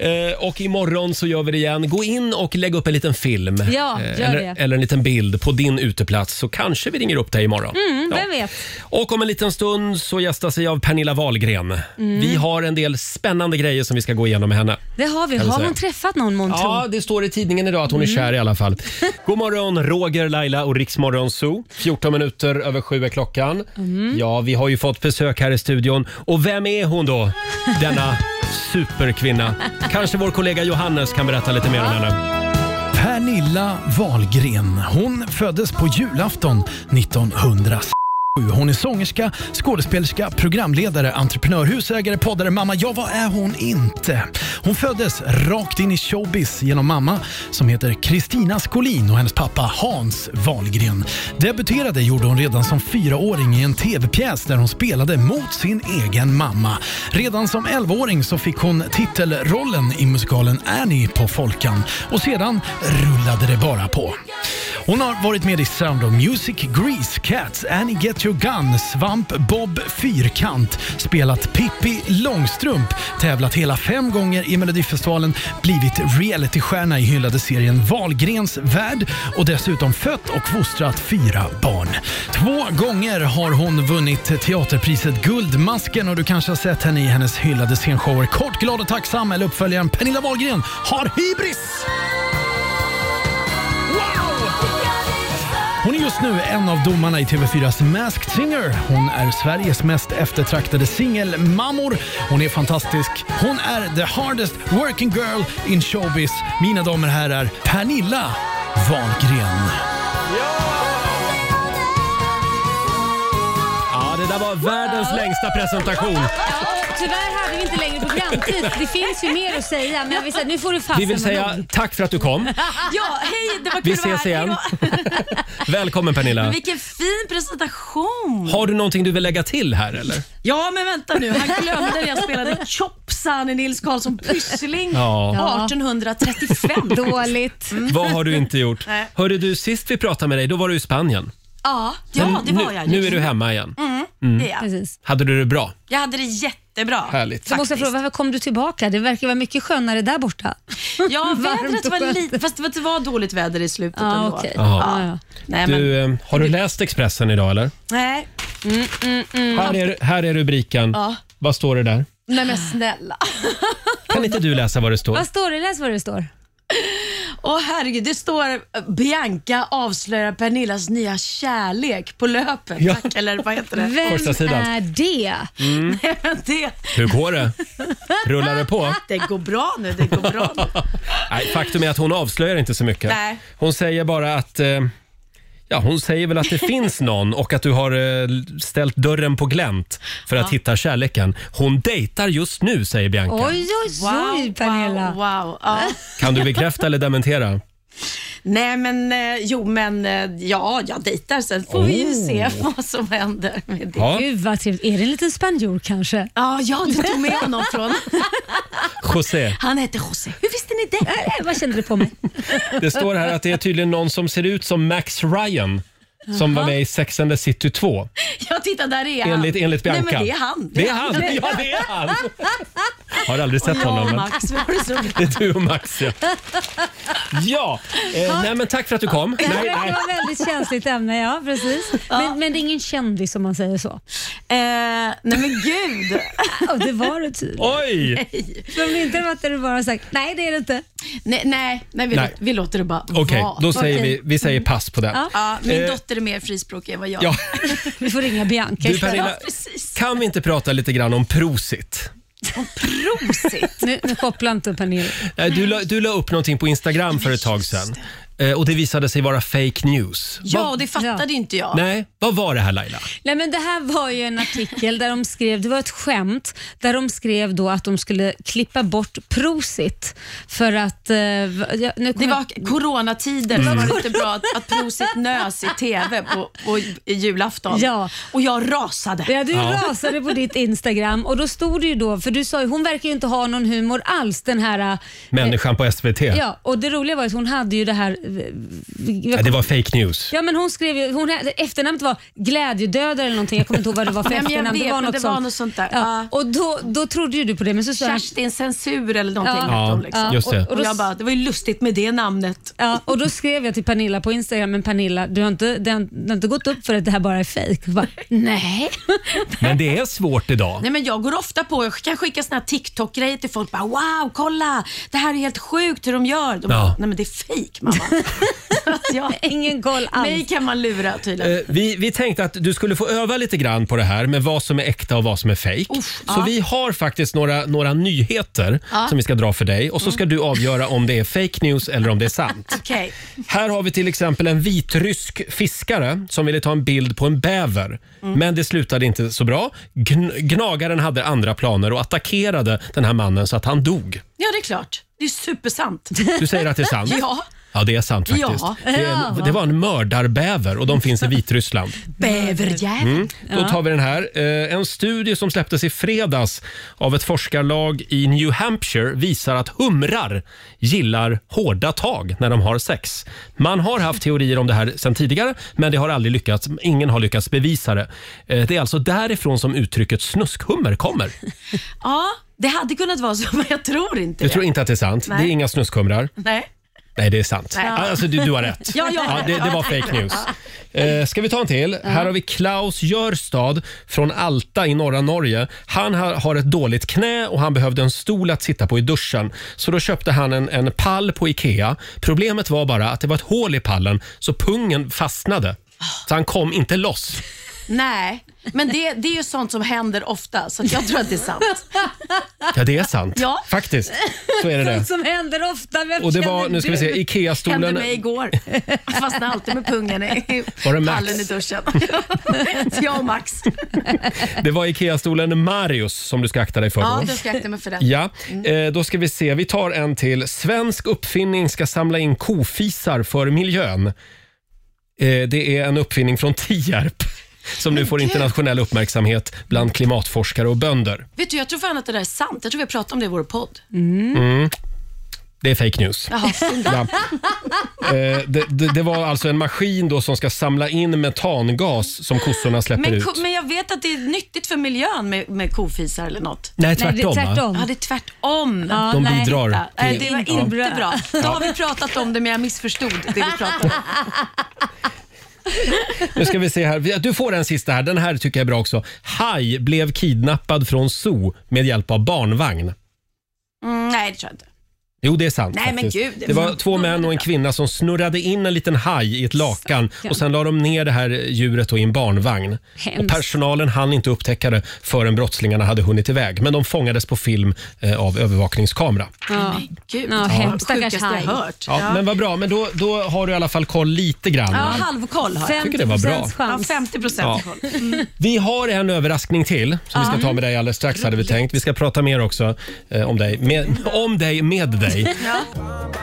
A: Eh, och imorgon så gör vi det igen. Gå in och lägg upp en liten film. Eh,
B: Ja, gör
A: eller,
B: det.
A: eller en liten bild på din uteplats så kanske vi ringer upp dig imorgon.
B: Mm,
A: Ja.
B: vem vet?
A: Och om en liten stund så gästas vi av Pernilla Wahlgren.
B: Mm.
A: Vi har en del spännande grejer som vi ska gå igenom med henne.
B: Det har vi.
A: Kan vi
B: Har
A: säga.
B: hon träffat någon månntro?
A: Ja, det står i tidningen idag att hon
K: Mm.
A: är kär i alla
K: (laughs)
A: fall. God morgon Roger, Laila och Riksmorgon Zoo. 14 minuter över sju är klockan.
E: Mm.
A: Ja, vi har ju fått besök här i studion. Och vem är hon då? Denna superkvinna. Kanske vår kollega Johannes kan berätta lite mer om henne.
L: Pernilla Wahlgren. Hon föddes på julafton 1907. Hon är sångerska, skådespelerska, programledare, entreprenör, husägare, poddare, mamma. Ja, vad är hon inte? Hon föddes rakt in i showbiz genom mamma som heter Kristina Skolin och hennes pappa Hans Wahlgren. Debuterade gjorde hon redan som fyraåring i en tv-pjäs där hon spelade mot sin egen mamma. Redan som 11-åring så fick hon titelrollen i musikalen Annie på Folkan och sedan rullade det bara på. Hon har varit med i Sound of Music, Grease, Cats, Annie Get Your Gun, Svamp, Bob Fyrkant, spelat Pippi Långstrump, tävlat hela fem gånger i Melodifestivalen, blivit realitystjärna i hyllade serien Wahlgrens värld och dessutom fött och fostrat fyra barn. Två gånger har hon vunnit teaterpriset Guldmasken och du kanske har sett henne i hennes hyllade scenshower Kort, glad och tacksam eller uppföljaren Pernilla Wahlgren har hybris! Hon är just nu en av domarna i TV4s Masked Singer. Hon är Sveriges mest eftertraktade singelmammor. Hon är fantastisk. Hon är the hardest working girl in showbiz. Mina damer och herrar, Pernilla Wahlgren.
A: Ja, det där var världens längsta presentation.
B: Tyvärr hade vi inte längre programtid. Det finns ju mer att säga, men vi säger, nu får du fasen
A: Vi vill
K: alltså,
B: vara
A: säga
B: nog.
A: tack för att du kom.
K: (laughs) Ja, hej! Det var kul
A: Vi
K: att vara
A: ses
K: här.
A: igen. (laughs) Välkommen
K: Men
A: Pernilla.
K: vilken fin presentation!
A: Har du någonting du vill lägga till här eller?
K: Ja, men vänta nu. Han glömde när jag spelade Chopsan i Nils Karlsson Pyssling
A: Ja. Ja.
K: 1835. Dåligt.
A: Vad har du inte gjort?
K: (laughs) Nej.
A: Hörde du, sist vi pratade med dig, då var du i Spanien.
K: Ja, ja
A: Men
K: det var
A: nu,
K: jag.
A: Nu är du hemma igen.
K: Mm,
A: Mm.
K: det är jag.
A: Hade du det bra?
K: Jag hade det jättebra.
A: Härligt.
B: Så måste jag fråga, varför kom du tillbaka? Det verkar vara mycket skönare där borta.
K: Ja,
B: Varmt
K: vädret
B: och
K: var
B: skönt.
K: lite... Fast det var dåligt väder i slutet
B: Ja,
K: ändå.
B: okej.
A: Ja.
K: Nej, men...
A: Ah, Du, eh, har du läst Expressen idag eller?
K: Nej. Mm, mm, mm.
A: Här, är, här är rubriken.
K: Ja.
A: Vad står det där?
K: Nej men snälla.
A: Kan inte du läsa vad det står?
K: står det? Läs vad det står. Åh herregud, det står eh, Bianca avslöjar Pernillas nya kärlek på löpet.
A: Ja.
K: Tack, eller vad heter det?
A: Vem Första sidan. är
K: det?
A: Mm.
K: Nej, men det?
A: Hur går det? Rullar det på?
K: Det går bra nu, det går bra nu.
A: Nej, faktum är att hon avslöjar inte så mycket.
K: Nej.
A: Hon säger bara att... Eh, ja, hon säger väl att det finns någon och att du har eh, ställt dörren på glänt för att
K: Ja.
A: hitta kärleken. Hon dejtar just nu, säger Bianca.
K: oj, oj, Pernilla. Wow, wow. Ja.
A: Kan du bekräfta eller dementera?
K: Nej men, eh, jo men, eh, ja jag dejtar sen får vi ju se (laughs) vad som händer med det.
A: Oh. Ja.
B: Gud vad trevligt. Är det en liten spanjor kanske?
K: Ja, ja du tog med honom från...
A: José.
K: Han heter José. Hur visste ni det?
B: vad kände du på mig?
A: Det står här att det är tydligen någon som ser ut som Max Ryan som var
K: Jaha.
A: med i Sex and the City 2.
K: Ja, titta där är han.
A: Enligt- enligt
K: Nej
A: Bianca.
K: men det är han.
A: Det är han. Ja, det är han. Har aldrig sett honom. men-
K: Ja, Max, var det så
A: Det är du och Max ja. Ja, eh, nej men tack för att du kom.
B: Det
A: Nej,
B: här
A: nej.
B: var ett väldigt känsligt ämne, ja precis. Men, men det är ingen kändis om man säger så.
K: nej men gud.
B: (laughs) det var det tydligen.
A: Oj!
B: Men om det inte hade varit det du bara sagt, nej det är det inte.
K: Nej, nej, nej, vi,
A: Nej.
K: Låter, vi låter det bara
A: Okej, då säger
K: Okej. Mm.
A: vi, vi säger pass på den.
K: Ja. Ja, min
A: Eh,
K: dotter är mer frispråkig än vad jag
A: Ja.
B: Vi får ringa Bianca
A: Du Pernilla, kan vi inte prata lite grann om Prosit?
B: Prosit. Nu, nu kopplar inte Pernilla.
A: Eh, Du la, du la upp någonting på Instagram för ett tag sedan eh, och det visade sig vara fake news.
K: Ja, och det fattade inte jag.
A: Nej, vad var det här Laila?
B: Nej, men det här var ju en artikel där de skrev, det var ett skämt, där de skrev då att de skulle klippa bort Prosit för att... Eh, va- ja, nu det
K: var coronatider så var det inte bra att, att Prosit nös i TV på, på i julafton.
B: Ja.
K: Och jag rasade.
B: Ja, du
K: Ja.
B: rasade på ditt Instagram och då stod det ju då, för du sa ju hon verkar ju inte ha någon humor alls den här... eh,
A: Människan på SVT.
B: Ja.
A: Ja,
B: och det roliga var att hon hade ju det här... eh,
A: det var fake news.
B: Ja, men hon skrev ju, hon, efternamnet var glädjedödare eller någonting. Jag kommer inte ihåg vad det var för
K: Nej, men jag
B: efternamn.
K: vet,
B: det var
K: men
B: något
K: det var
B: sånt.
K: något sånt där.
B: Ja. Och då, då trodde ju du på det, men så sa jag-
K: Kerstin Censur eller någonting.
B: Ja.
K: hette hon liksom.
B: Ja, just det.
K: Och, och jag bara, det var ju lustigt med det namnet.
B: Ja, och då skrev jag till Pernilla på Instagram, men Pernilla, du har inte, det har, det har inte gått upp för att det här bara är fejk. Hon bara, Nej.
A: Men det är svårt idag.
K: Nej men jag går ofta på, jag kan skicka såna här TikTok-grejer till folk. Bara, wow, kolla! Det här är helt sjukt hur de gör. De
A: Ja.
K: bara, Nej men det är fejk mamma. (laughs) Så att Alltså, jag,
B: Ingen koll alls.
K: (laughs) Mig kan man lura tydligen.
A: Eh, Vi, vi tänkte att du skulle få öva lite grann på det här med vad som är äkta och vad som är fejk.
K: Uff,
A: Så
K: ja.
A: vi har faktiskt några, några nyheter
K: Ja. Mm.
A: som vi ska dra för dig och så ska du avgöra om det är fake news eller om det är sant.
K: (laughs) Okej.
A: Här har vi till exempel en vitrysk fiskare som ville ta en bild på en bäver.
K: Mm.
A: Men det slutade inte så bra. Gn- gnagaren hade andra planer och attackerade den här mannen så att han dog.
K: Ja det är klart. Det är supersant.
A: Du säger att det är sant?
K: (laughs) Ja.
A: Ja, det är sant faktiskt.
K: Ja.
A: Det, är en, det var en mördarbäver och de finns i Vitryssland.
K: Bäverjävel.
A: Mm. Då tar vi den här. Eh, En studie som släpptes i fredags av ett forskarlag i New Hampshire visar att humrar gillar hårda tag när de har sex. Man har haft teorier om det här sedan tidigare, men det har aldrig lyckats. Ingen har lyckats bevisa det. Eh, Det är alltså därifrån som uttrycket snuskhummer kommer.
K: (laughs) Ja, det hade kunnat vara så men jag tror inte
A: Jag
K: det.
A: tror inte att det är sant.
K: Nej.
A: Det är inga snuskhumrar.
K: Nej.
A: Nej, det är sant.
K: Nej.
A: Alltså, du, du har rätt.
K: (laughs) Ja, jag har
A: det,
K: rätt.
A: det var
K: Ja, tack.
A: fake news. Eh, ska vi ta en till? Här har vi Klaus Jörstad från Alta i norra Norge. Han har, har ett dåligt knä och han behövde en stol att sitta på i duschen. Så då köpte han en, en pall på Ikea. Problemet var bara att det var ett hål i pallen så pungen fastnade. Så han kom inte loss.
K: Nej, men det, det är ju sånt som händer ofta så att jag tror att det är sant.
A: Ja, det är sant.
K: Ja.
A: Faktiskt. Så är det det.
B: Sånt som händer ofta. Vem
A: Och det
B: känner
A: var, nu ska vi
B: du?
A: se, Ikea-stolen.
K: Hände
A: (laughs)
K: mig igår. Jag fastnade alltid med pungen i
A: Var det Max?
K: pallen i duschen. (laughs) jag och Max.
A: Det var Ikea-stolen Marius som du ska akta dig för.
K: Ja,
A: då.
K: då ska jag akta mig för den. Mm.
A: Ja, eh, då ska vi se. Vi tar en till. Svensk uppfinning ska samla in kofisar för miljön. Eh, det är en uppfinning från Tierp som nu
K: Men
A: får
K: gud.
A: internationell uppmärksamhet bland klimatforskare och bönder.
K: Vet du, jag tror fan att det där är sant. Jag tror vi har pratat om det i vår podd.
A: Mm. Det är fake news.
K: Jaha, synd.
A: Ja. Eh, det, det, det var alltså en maskin då som ska samla in metangas som kossorna släpper
K: men,
A: ut.
K: ko- men jag vet att det är nyttigt för miljön med, med kofisar eller något.
A: Nej, tvärtom, Nej, det är tvärtom. va?
K: Ja, det är tvärtom.
A: Ja, De nej. bidrar
K: Titta, Nej, Eh,
A: till-
K: det var
A: Ja.
K: inte bra. Då har vi pratat om det, men jag missförstod det vi pratade om.
A: Nu ska vi se här. Du får en sista här. Den här tycker jag är bra också. Haj blev kidnappad från zoo med hjälp av barnvagn.
K: Mm, nej, det tror jag inte.
A: Jo, det är sant.
K: Nej, men
A: faktiskt.
K: gud, det
A: det var
K: var-
A: två män och en kvinna som snurrade in en liten haj i ett lakan
B: Stackarn.
A: och sen la de ner det här djuret då i en barnvagn.
B: Hemskt.
A: Och personalen hann inte upptäcka det förrän brottslingarna hade hunnit iväg. Men de fångades på film eh, av övervakningskamera.
B: Ja.
K: Gud,
B: ja,
A: Ja.
B: hemskt. Stackars
K: Sjukaste jag
B: haj.
K: hört.
A: Ja, Men vad bra, men då, då har du i alla fall koll lite grann.
K: Ja, halvkoll har jag.
A: Tycker det var bra.
K: 50% chans. Ja, 50 procent
A: Ja.
K: koll.
A: Vi har en överraskning till som vi
B: (laughs)
K: Ja.
A: ska ta med dig alldeles strax hade vi tänkt. Vi ska prata mer också eh, om dig. Med, om dig, med dig. dig.
K: Ja.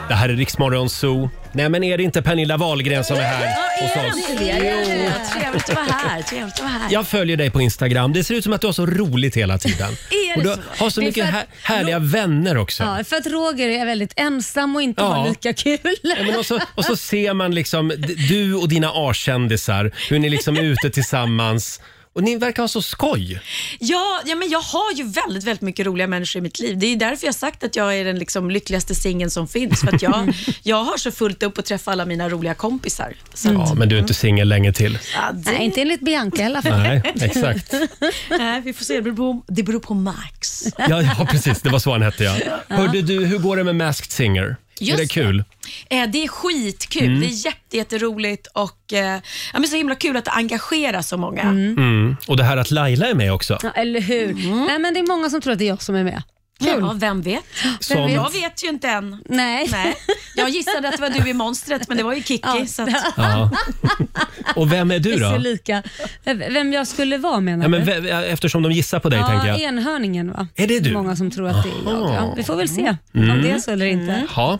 A: Det här är Riksmorgon Zoo. Nej, men är det inte Pernilla Wahlgren som är här hos oss?
K: Jo. Trevligt att vara här. Trevligt att vara här.
A: Jag följer dig på Instagram. Det ser ut som att du har så roligt hela tiden.
B: (laughs) Är det
A: Och du
B: så?
A: har så
B: Det är
A: mycket
B: för
A: här,
B: att-
A: härliga vänner också.
B: Ja, för att Roger är väldigt ensam och inte
A: Ja.
B: har lika kul.
A: Ja, men och, så, och så ser man liksom d- du och dina A-kändisar, hur ni liksom är ute tillsammans. Och ni verkar ha så skoj.
K: Ja, ja, men jag har ju väldigt, väldigt mycket roliga människor i mitt liv. Det är ju därför jag har sagt att jag är den liksom lyckligaste singeln som finns. För att jag, jag har så fullt upp att träffa alla mina roliga kompisar. Så
B: Mm.
A: Ja, men du är inte singel länge till.
K: Nej, inte
B: enligt Bianca i alla
A: fall. Nej, exakt.
K: (laughs) Nej, vi får se. Det beror på, det beror på Max.
A: Ja, ja precis. Det var så han hette, ja. Hörde du, hur går det med Masked Singer?
K: Just
A: är det kul?
K: Eh, Det är skitkul.
A: Mm.
K: Det är jätte, jätteroligt och eh, ja, men så himla kul att det engagerar så många.
A: Mm. Och det här att Laila är med
K: (laughs)
A: också.
B: Ja, eller hur?
K: Mm.
B: Nej, men det är många som tror att det är jag som är med. Kul.
K: Ja, vem vet?
A: Som- vet?
K: Jag vet ju inte än.
B: Nej.
K: Jag gissade att det var du i monstret, men det var ju Kikki. Så att...
A: Ja. Och vem är du
B: Vi ser
A: då?
B: lika. Vem jag skulle vara menar
A: Ja, men
B: du?
A: ve- eftersom de gissar på dig, tänker jag.
B: Ja, enhörningen va?
A: Är det du?
B: Många som tror att det är jag. Ja, vi får väl se om
A: Mm.
B: det är så eller inte. Alltså,
A: Ja.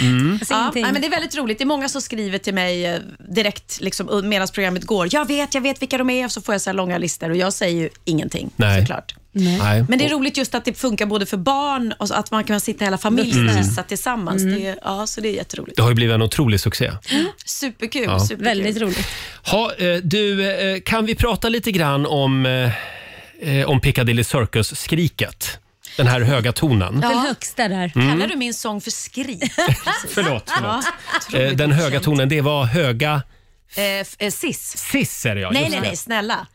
A: Mm.
K: Ja, nej, men det är väldigt roligt. Det är många som skriver till mig eh, direkt liksom, medan programmet går. Jag vet, jag vet vilka de är. Och så får jag så här långa listor och jag säger ju ingenting.
A: Nej.
K: Såklart.
A: Nej.
K: Men det är roligt just att det funkar både för barn och så att man kan sitta hela familjen och
A: Mm.
K: gissa tillsammans. Det är, ja, så det är jätteroligt.
A: Det har ju blivit en otrolig succé.
K: Superkul.
A: Ja.
K: superkul.
B: Väldigt roligt.
A: Ha, eh, du, eh, kan vi prata lite grann om, eh, eh, om Piccadilly Circus-skriket? Den här höga tonen.
B: Den högsta där.
A: Mm. Kallar du
K: min sång för skrik?
A: Förlåt, förlåt. Eh, Den höga tonen, det var höga...
K: Eh, Sis.
A: Sis är det ja,
K: Nej,
A: just
K: nej,
A: det.
K: nej, snälla.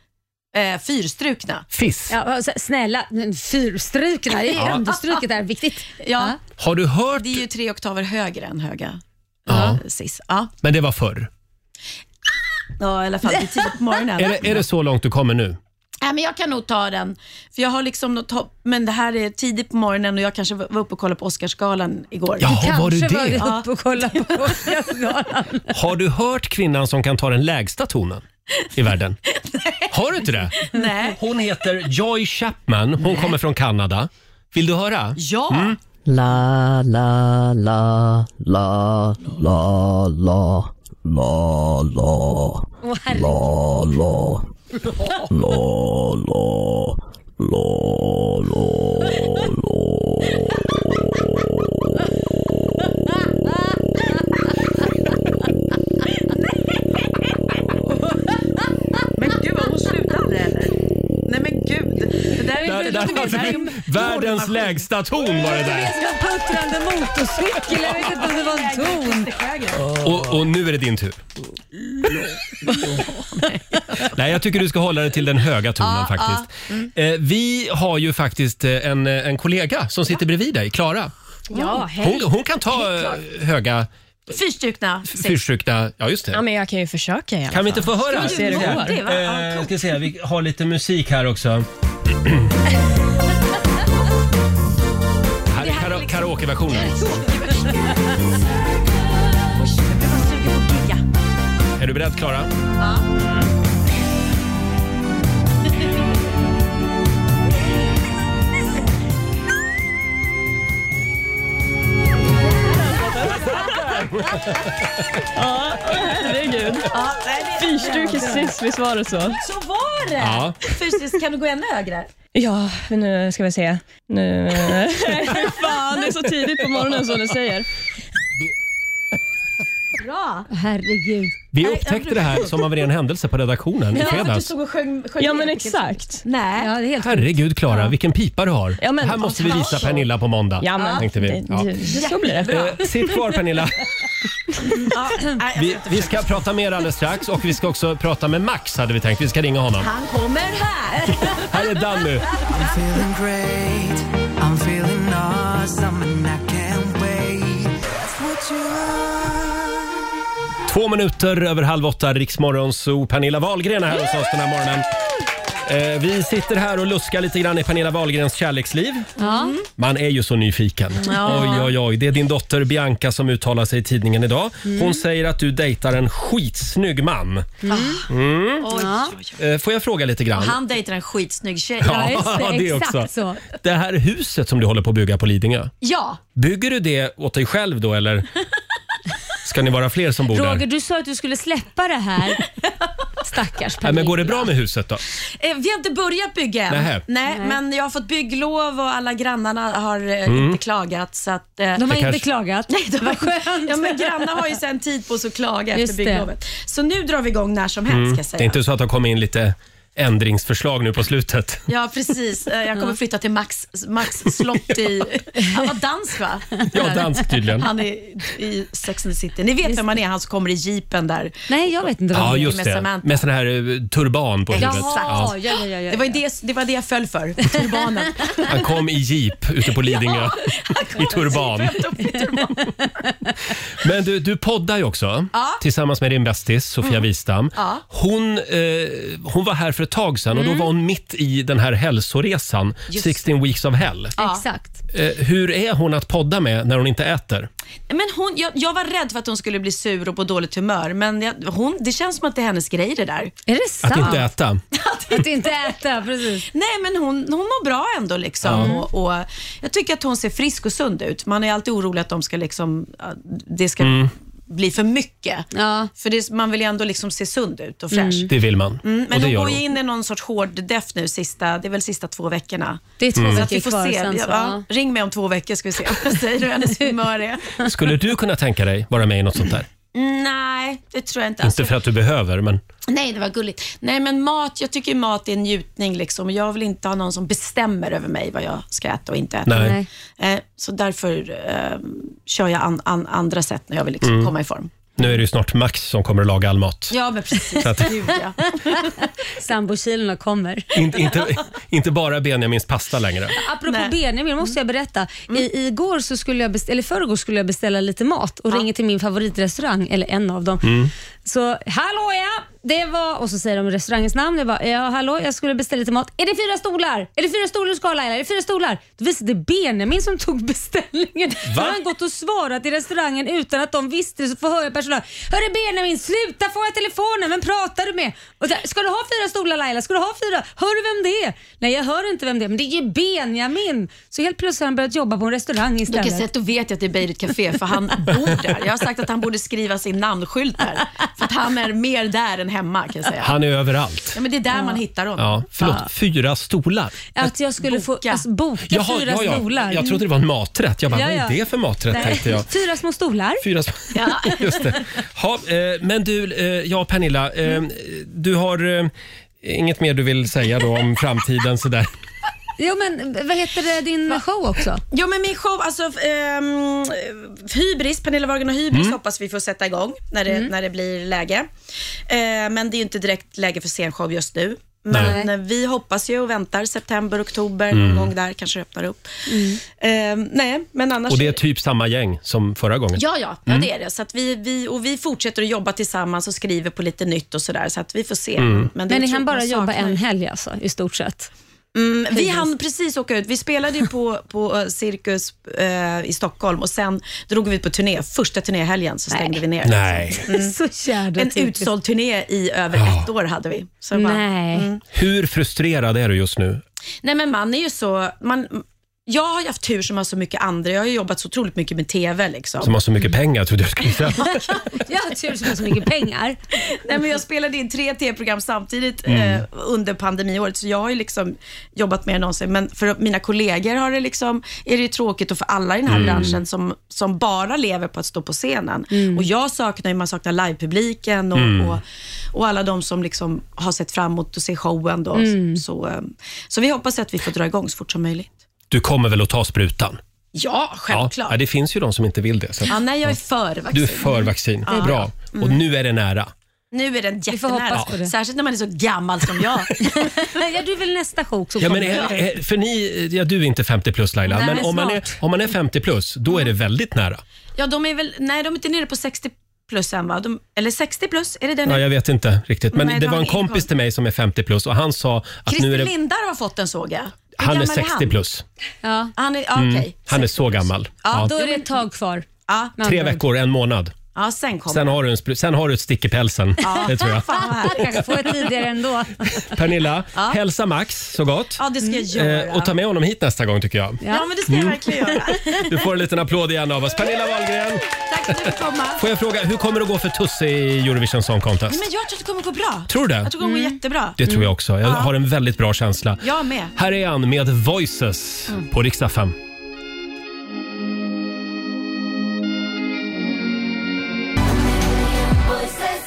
K: Eh, fyrstrukna.
A: Fiss.
B: Ja, alltså, snälla, fyrstrukna. Det är
A: Ja.
B: understruket är viktigt.
K: Ja.
A: Har du hört?
K: Det är ju tre oktaver högre än höga.
A: Ja.
K: Sis. Ja.
A: Men det var förr.
K: Ja, i alla fall det är tidigt på
A: (laughs)
K: morgonen.
A: Är det, är det så långt du kommer nu?
K: Nej, men jag kan nog ta den. För jag har liksom något hopp, men det här är tidigt på morgonen och jag kanske var var uppe och kollade på Oscarsgalan igår.
A: Jaha, Du var du kanske det? var
K: uppe
B: och kollade på
A: (laughs)
B: Oscarsgalan.
A: Har du hört kvinnan som kan ta den lägsta tonen i
K: (laughs)
A: världen? Har du inte det?
K: Nej.
A: Hon heter Joy Chapman. Hon kommer från Kanada. Vill du höra?
K: Ja.
M: La, la, la, la, la, la, la, la,
B: Åh,
M: la, la, la, la, la, la,
K: Men gud, har hon slutat eller? Nej men gud. Det där är
A: Där,
K: ju...
A: där hade vi (laughs) världens lägsta ton var det där.
B: En puttrande motorcykel. Jag vet inte om det var en ton.
A: Och, och nu är det
E: (laughs)
A: din tur. Nej, jag tycker du ska hålla dig till den höga tonen
E: Ja, Mm.
A: faktiskt. Eh, Vi har ju faktiskt eh, en, en kollega som sitter bredvid dig, Klara.
N: Ja, hej.
A: Hon, hon kan ta eh, höga
K: Fyrstrukna.
A: fyrstrukna... Ja, just
N: Ja,
A: det.
N: men jag kan ju försöka i alla
A: Kan vi inte få
N: fall.
A: höra?
N: Se hur det går.
A: Eh, ska se, vi har lite musik här (clears throat) också. här är liksom- kara- (laughs) karaokeversionen. Är du beredd, Klara?
N: Ja, herregud. Fyrstruken sismis var det så?
K: Så var det!
N: Ja.
K: Fysiskt, kan du gå ännu högre?
N: Ja, men nu ska vi se. Nu... Fan, det är så tidigt på morgonen som du säger.
K: Bra!
B: Herregud.
A: Vi upptäckte det här som av ren händelse på redaktionen i fredags.
K: och sjöng,
N: Ja, men exakt.
K: Nej.
B: Ja, det är helt
A: Herregud Klara, vilken pipa du har.
N: Ja, men-
A: här måste vi visa Pernilla på måndag.
N: Ja, men-
A: tänkte vi.
N: det- det- så blir det.
A: Eh, Sitt
N: (laughs)
A: kvar Pernilla. Vi, vi ska prata mer alldeles strax och vi ska också prata med Max hade vi tänkt. Vi ska ringa honom.
K: Han kommer här!
A: Här är Danny.
O: I'm feeling great. I'm feeling awesome and I can't wait. That's what you are.
A: Två minuter över halv åtta, Riksmorgon Zoo. Pernilla Wahlgren är här hos oss den här morgonen. Eh, vi sitter här och luskar lite grann i Pernilla Wahlgrens kärleksliv.
B: Ja.
A: Man är ju så nyfiken.
B: Ja.
A: Oj, oj, oj. Det är din dotter Bianca som uttalar sig i tidningen idag. Hon
B: Mm.
A: säger att du dejtar en skitsnygg man.
K: Mm.
A: Mm.
K: Oj.
A: Eh, Får jag fråga lite
K: Och
A: grann?
K: han dejtar en skitsnygg tjej.
A: Ja, (laughs) Ja, det är exakt också. så. Det här huset som du håller på att bygga på Lidingö,
K: Ja,
A: bygger du det åt dig själv då eller ska ni vara fler som bor
B: Roger,
A: där?
B: du sa att du skulle släppa det här.
A: (laughs)
B: Stackars
A: Nej,
B: Pernilla.
A: men går det bra med huset då?
K: Eh, Vi har inte börjat bygga än.
A: Nähä.
K: Nej,
A: Nej.
K: men jag har fått bygglov och alla grannarna har eh,
A: Mm.
K: inte klagat. Så att,
B: De
K: eh, (laughs)
B: har Det inte kanske- klagat.
K: Nej, de
B: Vad skönt.
K: Ja, men grannar har ju sen tid på sig att klaga
B: Just det.
K: efter bygglovet. Så nu drar vi igång när som helst.
A: Mm.
K: Ska jag säga.
A: Det är inte så att det har kommit in lite ändringsförslag nu på slutet?
K: Ja, precis. Eh, Jag kommer flytta till Max, Max slott (laughs) i... Han var dansk, va?
A: Ja, dansk tydligen.
K: Han är i Sex and the City. Ni vet vem han är, han som kommer i jeepen där.
B: Nej, jag vet inte
A: Ja, just det. Med sån här eh, turban på huvudet. Ja.
K: ja, ja, Det, var ju det, det var det jag föll för. Turbanen. (laughs)
A: Han kom i jeep ute på Lidingö. I turban. (laughs) Men du, du poddar ju också
K: Ja.
A: tillsammans med din bästis Sofia
K: Mm.
A: Wistam.
K: Ja.
A: Hon, eh, hon var här för ett tag sedan och
K: Mm.
A: då var hon mitt i den här hälsoresan,
K: Just
A: 16 weeks of hell.
B: Exakt.
A: Eh, hur är hon att podda med när hon inte äter?
K: Men hon, jag, jag var rädd för att hon skulle bli sur och på dåligt humör, men jag, hon, det känns som att det är hennes grej det där.
B: Är det
A: Att inte äta?
B: Att inte äta, precis.
K: Nej, men hon, hon mår bra ändå. Liksom.
A: Ja.
K: Och, och jag tycker att hon ser frisk och sund ut. Man är ju alltid orolig att de ska liksom, att det ska
A: Mm.
K: bli för mycket. För det, man vill ju ändå liksom se sund ut och fräsch.
A: Det vill man.
K: Mm,
A: och
K: men
A: det
K: hon
A: gör
K: går
A: hon.
K: ju in i någon sorts hård deff nu sista, det är väl sista två veckorna.
B: Det är
A: två
K: Så
A: veckor
K: att vi får
B: kvar
K: se.
B: sen så,
K: ja,
B: ja.
K: ring mig om två veckor ska vi se vad jag säger hur hennes humör är.
A: Skulle du kunna tänka dig vara med i något sånt där?
K: Nej, det tror jag inte. Alltså,
A: Inte för att du behöver, men...
K: Nej, det var gulligt. Nej, men mat, jag tycker mat är en njutning. Liksom. Jag vill inte ha någon som bestämmer över mig vad jag ska äta och inte äta.
A: Nej.
K: Eh, så därför eh, kör jag an, an, andra sätt när jag vill liksom
A: Mm.
K: komma i form.
A: Nu är det ju snart Max som kommer att laga all mat.
K: Ja, men precis.
A: Så att-
K: Gud, ja.
B: Sambokilarna kommer.
A: In, (laughs) inte, inte bara Benjamins pasta längre.
B: Apropå Benjamin måste jag berätta. I, igår så skulle jag beställa, eller förrgår skulle jag beställa lite mat och ringer till min favoritrestaurang, eller en av dem.
D: Mm.
B: Så, hallå ja! Det var, och så säger de restaurangens namn. Jag bara, ja hallå, jag skulle beställa lite mat. Är det fyra stolar? Är det fyra stolar du ska ha Laila? Är det fyra stolar? Då visade det Benjamin som tog beställningen. Då har han gått och svarat i restaurangen utan att de visste det, så får höra personal. Hörru Benjamin, sluta få telefonen, vem pratar du med? Och där, ska du ha fyra stolar Laila? Ska du ha fyra? Hör du vem det är? Nej jag hör inte vem det är, men det är ju Benjamin. Så helt plötsligt har han börjat jobba på en restaurang istället.
K: På sätt och vet jag att det är Beirut Café för han bor där. Jag har sagt att han borde skriva sin namnskylt där. För att han är mer där än hemma kan jag säga.
A: Han är överallt.
K: Ja, men det är där man hittar honom.
A: Ja, förlåt,
K: Ja.
A: fyra stolar?
B: Att jag skulle få alltså, boka fyra
A: ja, ja.
B: stolar. Mm.
A: Jag trodde det var en maträtt. Jag bara,
B: Ja,
A: vad är
B: ja.
A: det för maträtt?
B: Nej.
A: tänkte jag.
B: Fyra små stolar.
A: Fyra sm- (laughs) Just det. Ha, eh, men du, eh, ja Pernilla, eh, du har eh, inget mer du vill säga då om framtiden sådär?
B: Jo men vad heter det, din show också?
K: Jo men min show, alltså ehm, Hybris, Pernilla Wahlgren och Hybris
B: Mm.
K: hoppas vi får sätta igång när det,
B: Mm.
K: när det blir läge. Eh, men det är ju inte direkt läge för scenshow just nu.
A: Nej.
K: Men eh, vi hoppas ju och väntar september, oktober,
A: Mm.
K: någon gång där kanske det öppnar upp. Eh, nej, men annars...
A: Och det är typ samma gäng som förra gången?
K: Ja, ja, ja
A: Mm.
K: det är det. Så att vi, vi, och vi fortsätter att jobba tillsammans och skriver på lite nytt och sådär, så att vi får se.
A: Mm.
B: Men,
K: det
B: ni
K: är
B: hann
K: tråkigt,
B: bara
K: man
B: jobba
K: saknar
B: en helg alltså, i stort sett?
K: Mm, vi hann precis åka ut. Vi spelade ju på, på eh, Cirkus eh, i Stockholm och sen drog vi ut på turné. Första turnéhelgen så stängde vi ner.
A: Nej.
B: (laughs) Så jävla
K: Mm. En
B: typiskt.
K: utsåld turné i över ett år hade vi. Så bara, Mm.
B: Nej.
A: Hur frustrerad är du just nu?
K: Nej men man är ju så... Man, jag har ju haft tur som har så mycket andra. Jag har ju jobbat så otroligt mycket med TV. Liksom.
A: Som har så mycket pengar, jag trodde jag skulle säga.
B: (laughs) Jag har tur som har så mycket pengar.
K: Nej, men jag spelade in tre tv-program samtidigt
A: Mm.
K: eh, under pandemiåret, så jag har ju liksom jobbat mer än någonsin. Men för mina kollegor har det liksom, är det ju tråkigt och för alla i den här
D: Mm.
K: branschen som, som bara lever på att stå på scenen. Och jag saknar ju, man saknar livepubliken och,
D: Mm.
K: och, och alla de som liksom har sett fram emot att se showen. Då.
D: Mm.
K: Så, eh, så vi hoppas att vi får dra igång så fort som möjligt.
A: Du kommer väl att ta sprutan?
K: Ja, självklart.
A: Ja, det finns ju de som inte vill det. Så. att-
K: Ja, nej, jag är för vaccin.
A: Du är för vaccin.
K: Ja.
A: Bra.
K: Mm.
A: Och nu är det nära.
K: Nu är den
B: hoppas på
K: jättenära.
B: det.
K: Särskilt när man är så gammal som jag.
B: ja, du är väl nästa chock så
A: Ja, men
B: kommer
A: är,
B: det.
A: är, för ni, ja, du är inte 50 plus Laila,
K: Nej,
A: men om man, är,
K: snart. Mm.
A: om man är 50 plus, då är det väldigt nära.
K: Ja, de är väl, nej, de är inte nere på 60 plus än va? De, eller 60 plus, är det den?
A: Ja, jag vet inte riktigt. Men
K: Nej,
A: det var en
K: ingen
A: kompis
K: koll.
A: till mig som är 50 plus och han sa att nu
K: Christer
A: är det...
K: Lindar har fått den såg jag. Hur
A: Han är
K: gammal
A: 60 plus.
K: Ja. Han är, ja,
A: Mm,
K: okej.
A: Han är så gammal. Ja.
K: det ett tag kvar. Ja.
A: Tre veckor, en månad.
K: Ja, sen kommer
A: Sen har du, en, spr- sen har du ett stick i pälsen.
K: Ja.
A: (laughs) Det tror jag.
K: Fan vad härligt.
B: Kanske får jag tidigare (laughs) ändå.
A: Pernilla,
K: Ja.
A: hälsa Max så gott.
K: Ja, det ska jag göra.
A: Eh, och ta med honom hit nästa gång tycker jag.
K: Ja, men det ska jag
A: Mm.
K: verkligen göra.
A: Du får en liten applåd igen av oss. Pernilla Wahlgren,
K: Tack för att du fick komma.
A: får jag fråga, hur kommer det att gå för Tusse i Eurovision Song
K: Nej,
A: Contest?
K: men jag tror att det kommer gå bra.
A: Tror du det?
K: Jag tror det kommer gå
B: Mm.
K: jättebra.
A: Det tror jag också. Jag
K: Ja.
A: har en väldigt bra känsla.
K: Jag med. Mm.
A: Här är han med Voices på riksdag 5.
D: Voices.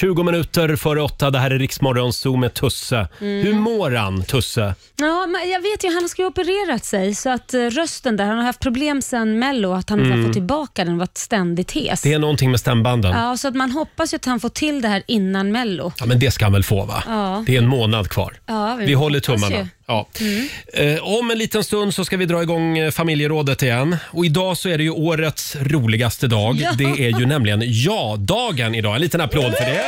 A: 20 minuter före åtta. Det här är Riksmorgon Zoo med Tusse.
B: Mm.
A: Hur mår han, Tusse?
B: Ja, men jag vet ju, han ska ju ha opererat sig så att eh, rösten där, han har haft problem sen mello att han inte
A: Mm.
B: har fått tillbaka den, varit ständigt hes.
A: Det är någonting med stämbanden. Ja.
B: Ja, så att man hoppas ju att han får till det här innan mello.
A: men det ska han väl få va?
B: Ja.
A: Det är en månad kvar.
B: Ja,
A: Vi håller
B: hoppas
A: tummarna.
B: ju.
A: Ja.
B: Mm.
A: Eh, om en liten stund så ska vi dra igång eh, familjerådet igen. Och idag så är det ju årets roligaste dag.
B: Ja.
A: Det är ju nämligen ja-dagen idag. En liten applåd för det.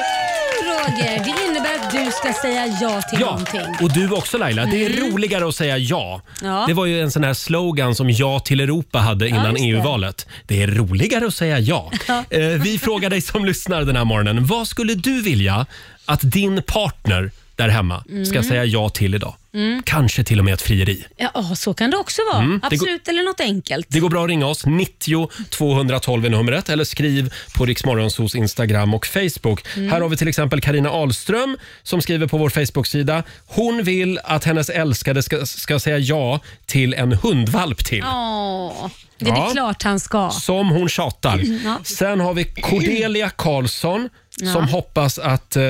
B: Roger, det innebär att du ska säga ja till
A: Ja,
B: någonting. Mm.
A: och du också Laila. Det är roligare att säga ja.
B: Ja.
A: Det var ju en sån här slogan som Ja till Europa hade
B: Ja,
A: innan
B: just det.
A: EU-valet. Det är roligare att säga ja. (laughs) Eh, vi frågar dig som lyssnar den här morgonen. Vad skulle du vilja att din partner där hemma ska
B: Mm.
A: säga ja till idag?
B: Mm.
A: Kanske till och med ett frieri.
B: Ja, åh, så kan det också vara.
A: Mm, det går-
B: Absolut, eller något enkelt.
A: Det går bra att ringa oss, 90 212 är numret, eller skriv på Riksmorgonsos Instagram och Facebook.
B: Mm.
A: Här har vi till exempel Karina Ahlström som skriver på vår Facebook-sida. Hon vill att hennes älskade ska, ska säga ja till en hundvalp till.
B: Åh, det är
A: Ja.
B: väl klart han ska.
A: Som hon tjatar.
B: Mm, Ja.
A: Sen har vi Cordelia Karlsson som
B: Ja.
A: hoppas att eh,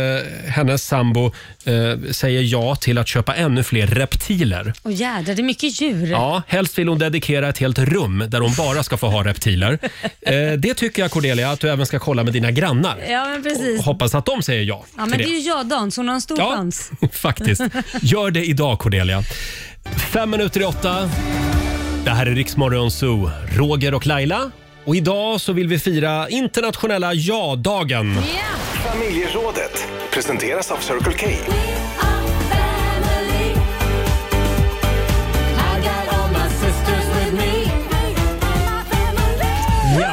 A: hennes sambo eh, säger ja till att köpa ännu fler reptiler.
B: Åh jädrar, det är mycket djur.
A: Ja, helst vill hon dedikera ett helt rum där hon bara ska få ha
B: (laughs)
A: reptiler. Eh, det tycker jag Cordelia att du även ska kolla med dina grannar.
B: Ja, men precis.
A: Och hoppas att de säger ja
B: Ja, men
A: till
B: det är ju jag-dagen, så hon har en stor
A: Ja.
B: chans.
A: (laughs) Faktiskt. Gör det idag Cordelia. Fem minuter i åtta. Det här är Riksmorgon Zoo, Roger och Laila. Och idag så vill vi fira internationella ja-dagen.
E: Familjerådet presenteras av Circle K.
A: Ja.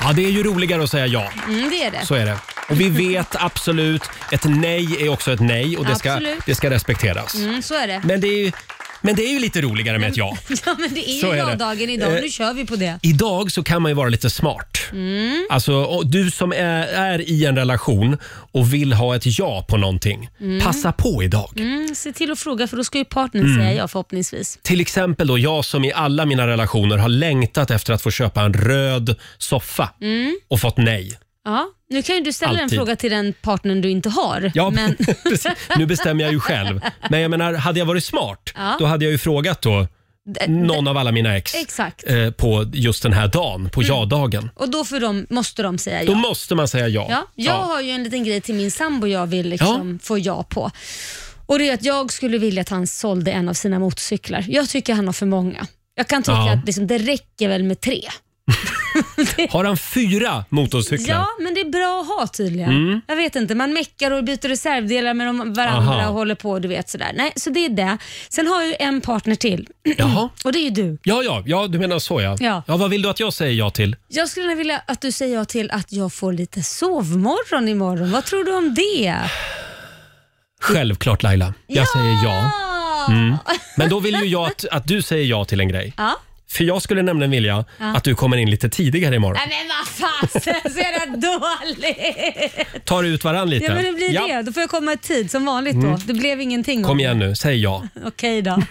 A: ja, det är ju roligare att säga ja.
B: Mm, det är det.
A: Så är det. Och vi vet absolut, ett nej är också ett nej och det ska,
B: Absolut.
A: det ska respekteras.
B: Mm, så är det.
A: Men det är ju, men det är ju lite roligare med ett ja.
B: (laughs) Ja, men det är
A: Så
B: ju
A: är det.
B: ja-dagen idag.
A: Eh,
B: Nu kör vi på det.
A: Idag så kan man ju vara lite smart.
B: Mm.
A: Alltså, och du som är, är i en relation och vill ha ett ja på någonting,
B: Mm.
A: passa på idag.
B: Mm, se till att fråga för då ska ju partnern
A: Mm.
B: säga ja förhoppningsvis.
A: Till exempel då jag som i alla mina relationer har längtat efter att få köpa en röd soffa
B: Mm.
A: och fått nej.
B: Ja, nu kan ju du ställa en
A: Alltid.
B: fråga till den partnern du inte har.
A: Ja, (laughs)
B: men,
A: precis. Nu bestämmer jag ju själv. Men jag menar, hade jag varit smart,
B: Ja.
A: då hade jag ju frågat då
B: D-
A: någon av alla mina ex
B: (laughs) Exakt.
A: eh, på just den här dagen, på
B: Mm.
A: ja-dagen.
B: Och då får de, måste de säga ja.
A: Då måste man säga ja.
B: Ja, jag har ju en liten grej till min sambo jag vill liksom få ja på. Och det är att Jag skulle vilja att han sålde en av sina motorcyklar. Jag tycker han har för många. Jag kan tycka
A: Ja.
B: att liksom, det räcker väl med tre.
A: Har han fyra motorcyklar?
B: Ja, men det är bra att ha tydligen.
A: Mm.
B: Jag vet inte, man meckar och byter reservdelar med dem- varandra
A: Aha.
B: och håller på du vet sådär. Nej, så det är det. Sen har jag ju en partner till (clears throat)
A: Jaha.
B: och det är ju du.
A: Ja, ja, ja, du menar så ja.
B: Ja.
A: ja. Vad vill du att jag säger ja till?
B: Jag skulle gärna vilja att du säger ja till att jag får lite sovmorgon imorgon. Vad tror du om det?
A: Självklart Laila. Jag säger ja.
B: Ah!
A: Mm. Men då vill ju jag att, att du säger ja till en grej.
B: (laughs) Ja.
A: För jag skulle nämligen vilja
B: Ja.
A: att du kommer in lite tidigare imorgon.
B: Nej men vad fasen, så jävla dåligt!
A: Tar ut varann lite.
B: Äh. Ja men det blir det. Då får jag komma i tid som vanligt
A: Mm.
B: då. Det blev ingenting.
A: Kom igen nu, säg ja.
B: Okej då.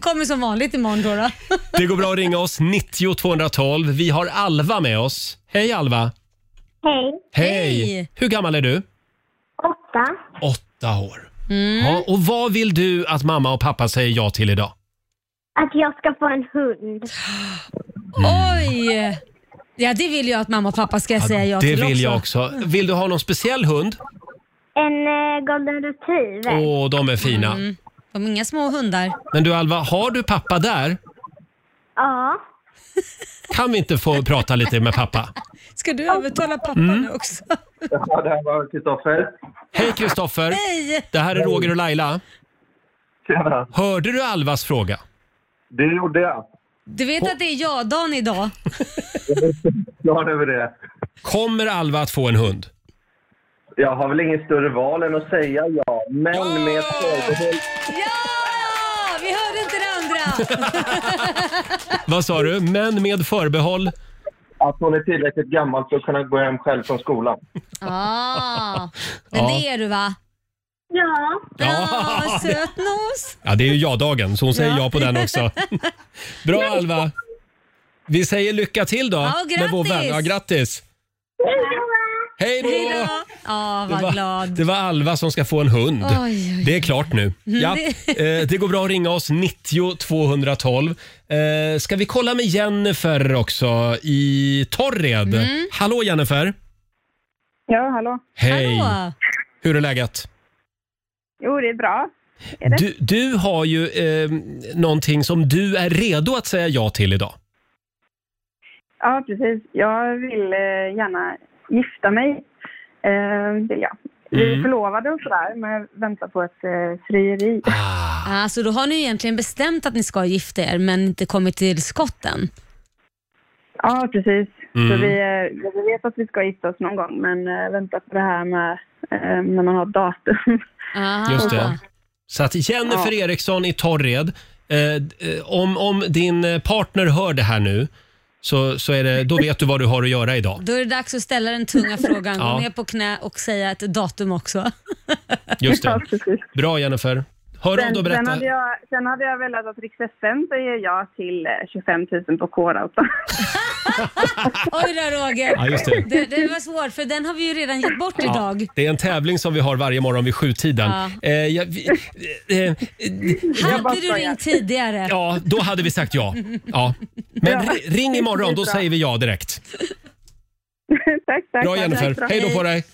B: Kommer som vanligt imorgon då. då. (laughs)
A: Det går bra att ringa oss, 90 212. Vi har Alva med oss. Hej Alva!
G: Hej.
A: Hur gammal är du?
G: Åtta.
A: Åtta år.
B: Mm.
A: Ja, och vad vill du att mamma och pappa säger ja till idag?
G: Att jag ska få en hund.
B: Oj! Ja det vill jag att mamma och pappa ska säga ja
A: det
B: till
A: vill
B: också.
A: jag också. Vill du ha någon speciell hund?
G: En eh, golden retriever.
A: Åh, de är fina.
B: Mm. De är inga små hundar.
A: Men du Alva, har du pappa där?
G: Ja.
A: Kan vi inte få prata lite med pappa?
B: Ska du övertala pappa
A: Mm.
B: nu också?
J: Ja, det här var Kristoffer.
A: Hej Kristoffer!
B: Hej!
A: Det här är Roger och Laila. Hörde du Alvas fråga?
J: Det gjorde jag.
B: Du vet att det är ja-dagen idag.
J: Klar över det.
A: Kommer Alva att få en hund?
P: Jag har väl inget större val än att säga ja, men med ett förbehåll.
B: Ja! Vi hörde inte det
A: (laughs)
B: andra.
A: Vad sa du? Men med förbehåll?
P: Att hon är tillräckligt gammal för att kunna gå hem själv från skolan.
B: Ah, men
A: Ja.
B: det är du va?
G: Ja.
B: Ja, sötnos.
A: Ja, det är ju ja-dagen, så hon säger ja,
B: Ja.
A: på den
B: (laughs)
A: också. Bra Alva! Vi säger lycka till då
B: Ja,
A: med vår vän. Ja,
B: grattis.
A: grattis! Hej då!
B: Hej då! Ja,
A: Det
B: vad
A: var-
B: glad.
A: Det var Alva som ska få en hund.
B: Oj, oj, oj.
A: Det är klart nu.
B: Mm,
A: Ja.
B: det-
A: eh, det går bra att ringa oss, 90 212. Eh, ska vi kolla med Jennifer också i Torred?
Q: Mm.
A: Hallå Jennifer!
Q: Ja, hallå.
A: Hej! Hur är läget?
Q: Jo, det är bra.
A: Du, du har ju eh, någonting som du är redo att säga ja till idag.
Q: Ja, precis. Jag vill eh, gärna gifta mig. Eh, vill jag. Vi är
B: Mm.
Q: förlovade och sådär, men väntar på ett eh, frieri.
B: Alltså, då har ni ju egentligen bestämt att ni ska gifta er men inte kommit till skotten.
Q: Ja, precis. Så
B: Mm.
Q: vi, eh, vi vet att vi ska gifta oss någon gång, men eh, väntar på det här med eh, när man har datum. (laughs)
A: Just det. Så att Jennifer
Q: Ah. Ja.
A: Eriksson i Torred, eh, eh, om, om din eh, partner hör det här nu så, så är det, då vet du vad du har att göra idag.
B: Då är det dags att ställa den tunga frågan,
A: Ja.
B: gå ner på knä och säga ett datum också.
A: Just
Q: Ja,
A: det. Bra Jennifer. Hör av dig och
Q: sen, sen,
A: berätta.
Q: hade jag, sen hade jag velat att Rix FM säger ja till eh, 25 000 på alltså. kårautan.
B: Oj då Roger.
A: Ja, just det.
B: Det, det var svårt för den har vi ju redan gett bort idag.
A: det är en tävling som vi har varje morgon vid sjutiden.
B: Ja.
A: Eh, jag, vi, eh, eh,
B: Hade du ringt tidigare?
A: ja, då hade vi sagt ja. ja. Men ri- ring imorgon, då säger vi ja direkt.
Q: (laughs) tack, tack.
A: Bra
Q: tack,
A: Jennifer,
Q: tack, bra.
A: hej då på dig.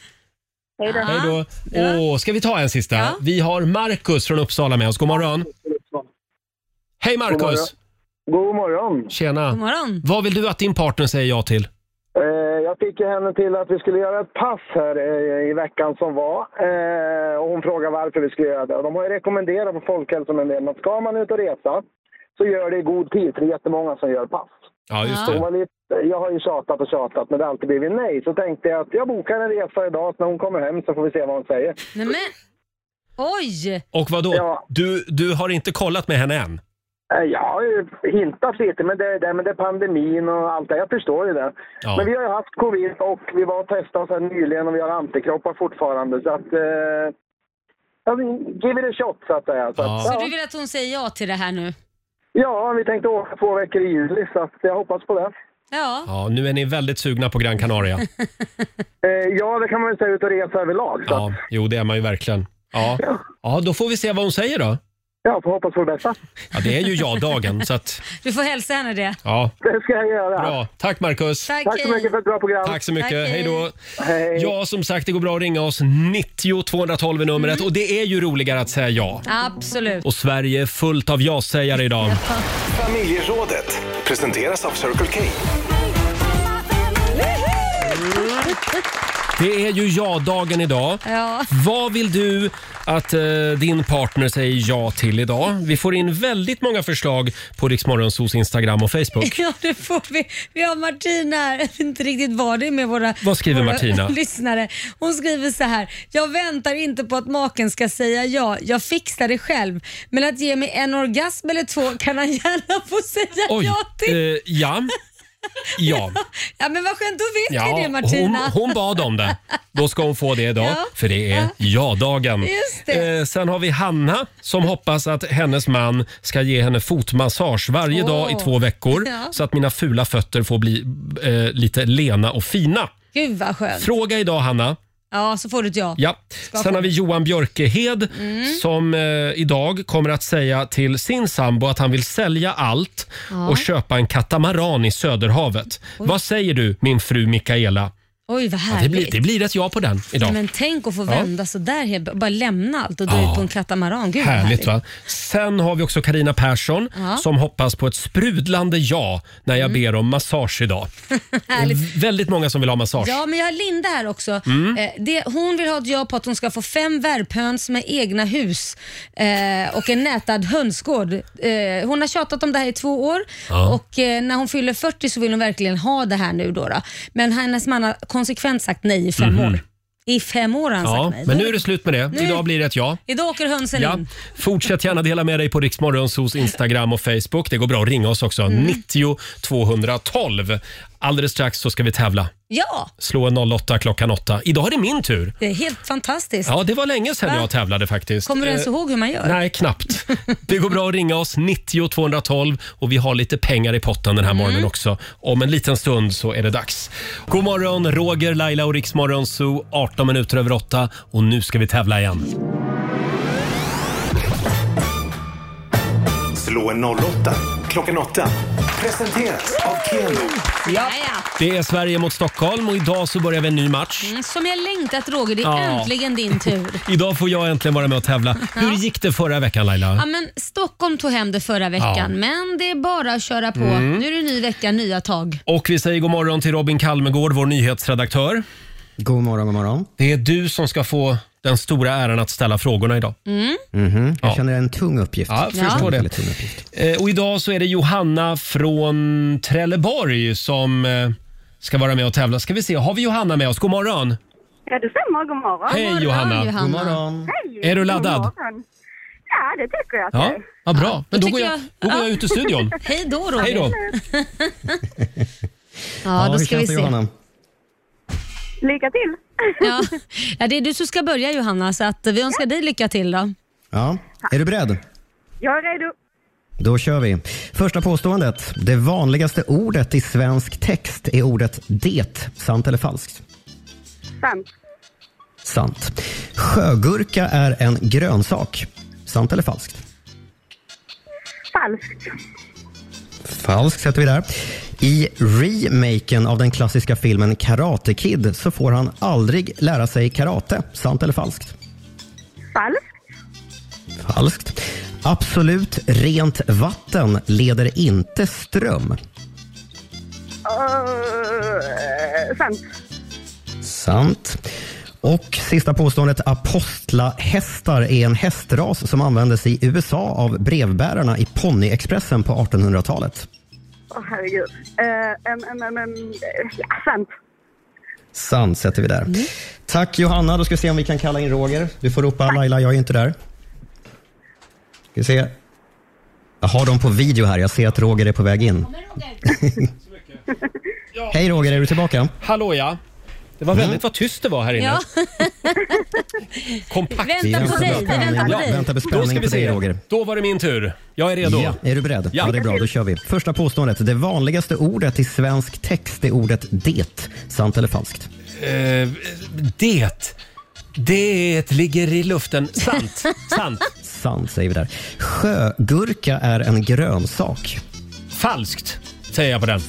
Q: Hej då.
A: Hej då. Åh, ska vi ta en sista? Vi har Markus från Uppsala med oss. God morgon. Hej
P: God
A: Markus!
P: morgon. God morgon.
A: Tjena.
P: God morgon.
A: Vad vill du att din partner säger ja till?
P: Eh, jag fick ju henne till att vi skulle göra ett pass här eh, i veckan som var. Eh, och hon frågade varför vi skulle göra det. Och de har ju rekommenderat på Folkhälsomyndigheten att ska man ut och resa så gör det i god tid för det är jättemånga som gör pass.
A: Ja,
P: Så hon var lite, jag har ju tjatat och tjatat men det har alltid blivit nej. Så tänkte jag att jag bokar en resa idag så när hon kommer hem så får vi se vad hon säger.
B: Nej, men, oj!
A: Och vad då? Du, du har inte kollat med henne än?
P: Eh, Jag har ju hintat lite, men det, det, men det är pandemin och allt det. Jag förstår ju det.
A: Ja.
P: Men vi har ju haft covid och vi var och testade oss här nyligen och vi har antikroppar fortfarande. Så att... Eh, alltså, give it a shot, så att säga. Så att,
B: Så
P: ja.
B: du vill att hon säger ja till det här nu?
P: ja, vi tänkte åka två veckor i juli, så att jag hoppas på det.
B: Ja.
A: Ja, nu är ni väldigt sugna på Gran Canaria.
P: Eh, ja, det kan man väl säga ut och resa överlag. Så.
A: Ja, jo det är man ju verkligen. Ja. ja, då får vi se vad hon säger då.
P: Ja, får hoppas på det bästa.
A: Ja, det är ju ja-dagen så att,
B: Du får hälsa henne det.
A: ja.
P: Det ska jag göra.
A: Bra. Tack Marcus.
B: Tack, Tack så hej. mycket
P: för ett bra program.
A: Tack så mycket.
B: Tack,
A: hej
B: hej.
A: då. Ja, som sagt, det går bra att ringa oss. 90 212 är
B: Mm.
A: numret och det är ju roligare att säga ja.
B: Absolut.
A: Och Sverige är fullt av ja-sägare idag.
E: Familjerådet presenteras av Circle K.
A: Det är ju ja-dagen idag.
B: Ja.
A: Vad vill du att eh, din partner säger ja till idag? Vi får in väldigt många förslag på Riksmorgonsos Instagram och Facebook.
B: Ja, det får vi. Vi har Martina här. Jag vet inte riktigt vad det är med våra,
A: Vad skriver
B: våra
A: Martina?
B: (laughs) lyssnare. Hon skriver så här. Jag väntar inte på att maken ska säga ja. Jag fixar det själv. Men att ge mig en orgasm eller två kan han gärna få säga
A: Oj,
B: (laughs) ja till.
A: eh, ja. Ja.
B: Ja, men vad skönt. Då vet vi det
A: hon,
B: Martina.
A: hon bad om det. Då ska hon få det idag,
B: Ja.
A: för det är ja-dagen.
B: Just det.
A: Eh, sen har vi Hanna som hoppas att hennes man ska ge henne fotmassage varje
B: Åh.
A: dag i två veckor
B: Ja.
A: så att mina fula fötter får bli eh, lite lena och fina.
B: Gud vad skönt.
A: Fråga idag, Hanna.
B: Ja, så får du ett ja.
A: Ja.
B: Ska
A: Sen har vi Johan Björkehed
B: Mm.
A: som eh, idag kommer att säga till sin sambo att han vill sälja allt
B: Ja.
A: och köpa en katamaran i Söderhavet. Vad säger du, min fru Mikaela?
B: Oj, vad
A: Ja,
B: härligt.
A: det, blir, det blir ett ja på den idag.
B: Men tänk att få
A: Ja.
B: vända sådär, helt- bara lämna allt och dra
A: Ja.
B: ut på en katamaran. Gud, vad
A: Härligt va? Sen har vi också Karina Persson
B: Ja. Mm.
A: som hoppas på ett sprudlande ja när jag ber om massage idag.
B: (laughs) Härligt.
A: V- Väldigt många som vill ha massage.
B: Ja, men jag har Linda här också.
A: Mm.
B: Eh, det, hon vill ha ett ja på att hon ska få fem värphöns med egna hus eh, och en nätad hönsgård. Eh, hon har tjatat om det här i två år
D: Ja.
B: och eh, när hon fyller 40 så vill hon verkligen ha det här nu då. då. Men hennes man har konsekvent sagt nej i fem
A: Mhm.
B: år. I fem år har han
A: Ja,
B: sagt nej.
A: men nu är det slut med det.
B: Nu- Mm.
A: Idag blir det ett ja.
B: Idag åker hönsen
A: Ja.
B: in.
A: Fortsätt gärna dela med dig på Riksmorgonsos Instagram och Facebook. Det går bra att ringa oss också.
B: Mm.
A: 90 212. Alldeles strax så ska vi tävla.
B: Ja,
A: Slå en 08 klockan 8. Idag är det min tur.
B: det är helt fantastiskt.
A: Ja, det var länge sedan
B: Va?
A: jag tävlade faktiskt.
B: Kommer du ens
A: Eh,
B: ihåg hur man gör?
A: Nej, knappt. Det går bra att ringa oss, 90 212 och vi har lite pengar i potten den här morgonen också. Om en liten stund så är det dags. God morgon, Roger, Laila och Riksmorgon Zoo, 18 minuter över 8 och nu ska vi tävla igen.
E: Slå en 08 E klockan 8. Presenteras av Keno.
B: Ja.
A: Det är Sverige mot Stockholm och idag så börjar vi en ny match.
B: Mm, Som jag längtat Roger, det är
A: Ja.
B: äntligen din tur.
A: Idag får jag äntligen vara med och tävla. Hur gick det förra veckan Laila?
B: Ja, men Stockholm tog hem det förra veckan,
A: Ja.
B: men det är bara att köra på.
A: Mm.
B: Nu är det ny vecka, nya tag.
A: Och vi säger god morgon till Robin Kalmegård, vår nyhetsredaktör.
R: God morgon, god morgon.
A: Det är du som ska få den stora äran att ställa frågorna idag.
B: Mm.
R: Mhm. Jag
A: Ja.
R: känner en tung uppgift.
A: Ja, jag förstår det.
R: Väldigt Tung uppgift.
A: Eh, Och idag så är det Johanna från Trelleborg som eh, ska vara med och tävla. Ska vi se, har vi Johanna med oss? God morgon!
S: Ja, det stämmer. God morgon.
A: Hej, God morgon, Johanna. Johanna. God morgon.
S: Hej.
A: Är du
S: god
A: laddad?
S: morgon. Ja, det tycker jag. att
A: Ja,
S: jag är.
A: ja bra. Men då går jag, då går jag ut ur studion.
B: Hej då Roger.
A: Hej (laughs) då.
B: ja, då
R: hur
B: ska
R: känns
B: vi
R: det,
B: se.
R: Johanna?
S: Lycka till.
B: Ja. ja, det är du som ska börja Johanna, så att vi önskar dig lycka till då.
R: Ja. Är du beredd?
S: Jag är redo.
R: Då kör vi. Första påståendet. Det vanligaste ordet i svensk text är ordet det. Sant eller falskt?
S: Sant.
R: Sant. Sjögurka är en grönsak. Sant eller falskt?
S: Falskt.
R: Falskt sätter vi där. I remaken av den klassiska filmen Karate Kid så får han aldrig lära sig karate. Sant eller falskt?
S: Falskt.
R: Falskt. Absolut rent vatten leder inte ström.
Q: eh,
S: Uh, sant.
R: Sant. Och sista påståendet. Apostlahästar är en hästras som användes i USA av brevbärarna i ponnyexpressen på 1800-talet.
S: Åh, herregud.
Q: Eh,
S: Uh, um, um, um, um, ja, sant.
R: Sant sätter vi där. Tack Johanna. Då ska vi se om vi kan kalla in Roger. Du får ropa Laila, jag är inte där. Ska vi se. Jag har dem på video här. Jag ser att Roger är på väg in. (laughs) Hej Roger, är du tillbaka?
A: Hallå ja. Det
R: Mm.
A: var väldigt vad tyst det var här inne.
B: Ja.
A: (laughs) Kompakt.
B: Vänta på dig, vi väntar på
R: Ja,
B: dig.
R: vänta med spänning
A: Då ska
R: på
A: vi
R: dig,
A: se.
R: Roger.
A: Då var det min tur. Jag är redo.
R: Ja, är du beredd?
A: Ja.
R: Ja. det är bra. Då kör vi. Första påståendet. Det vanligaste ordet i svensk text är ordet det. Sant eller falskt?
A: Eh, det. Det ligger i luften. Sant. (laughs) Sant.
R: Sant säger vi där. Sjögurka är en grönsak.
A: Falskt, säger jag på den.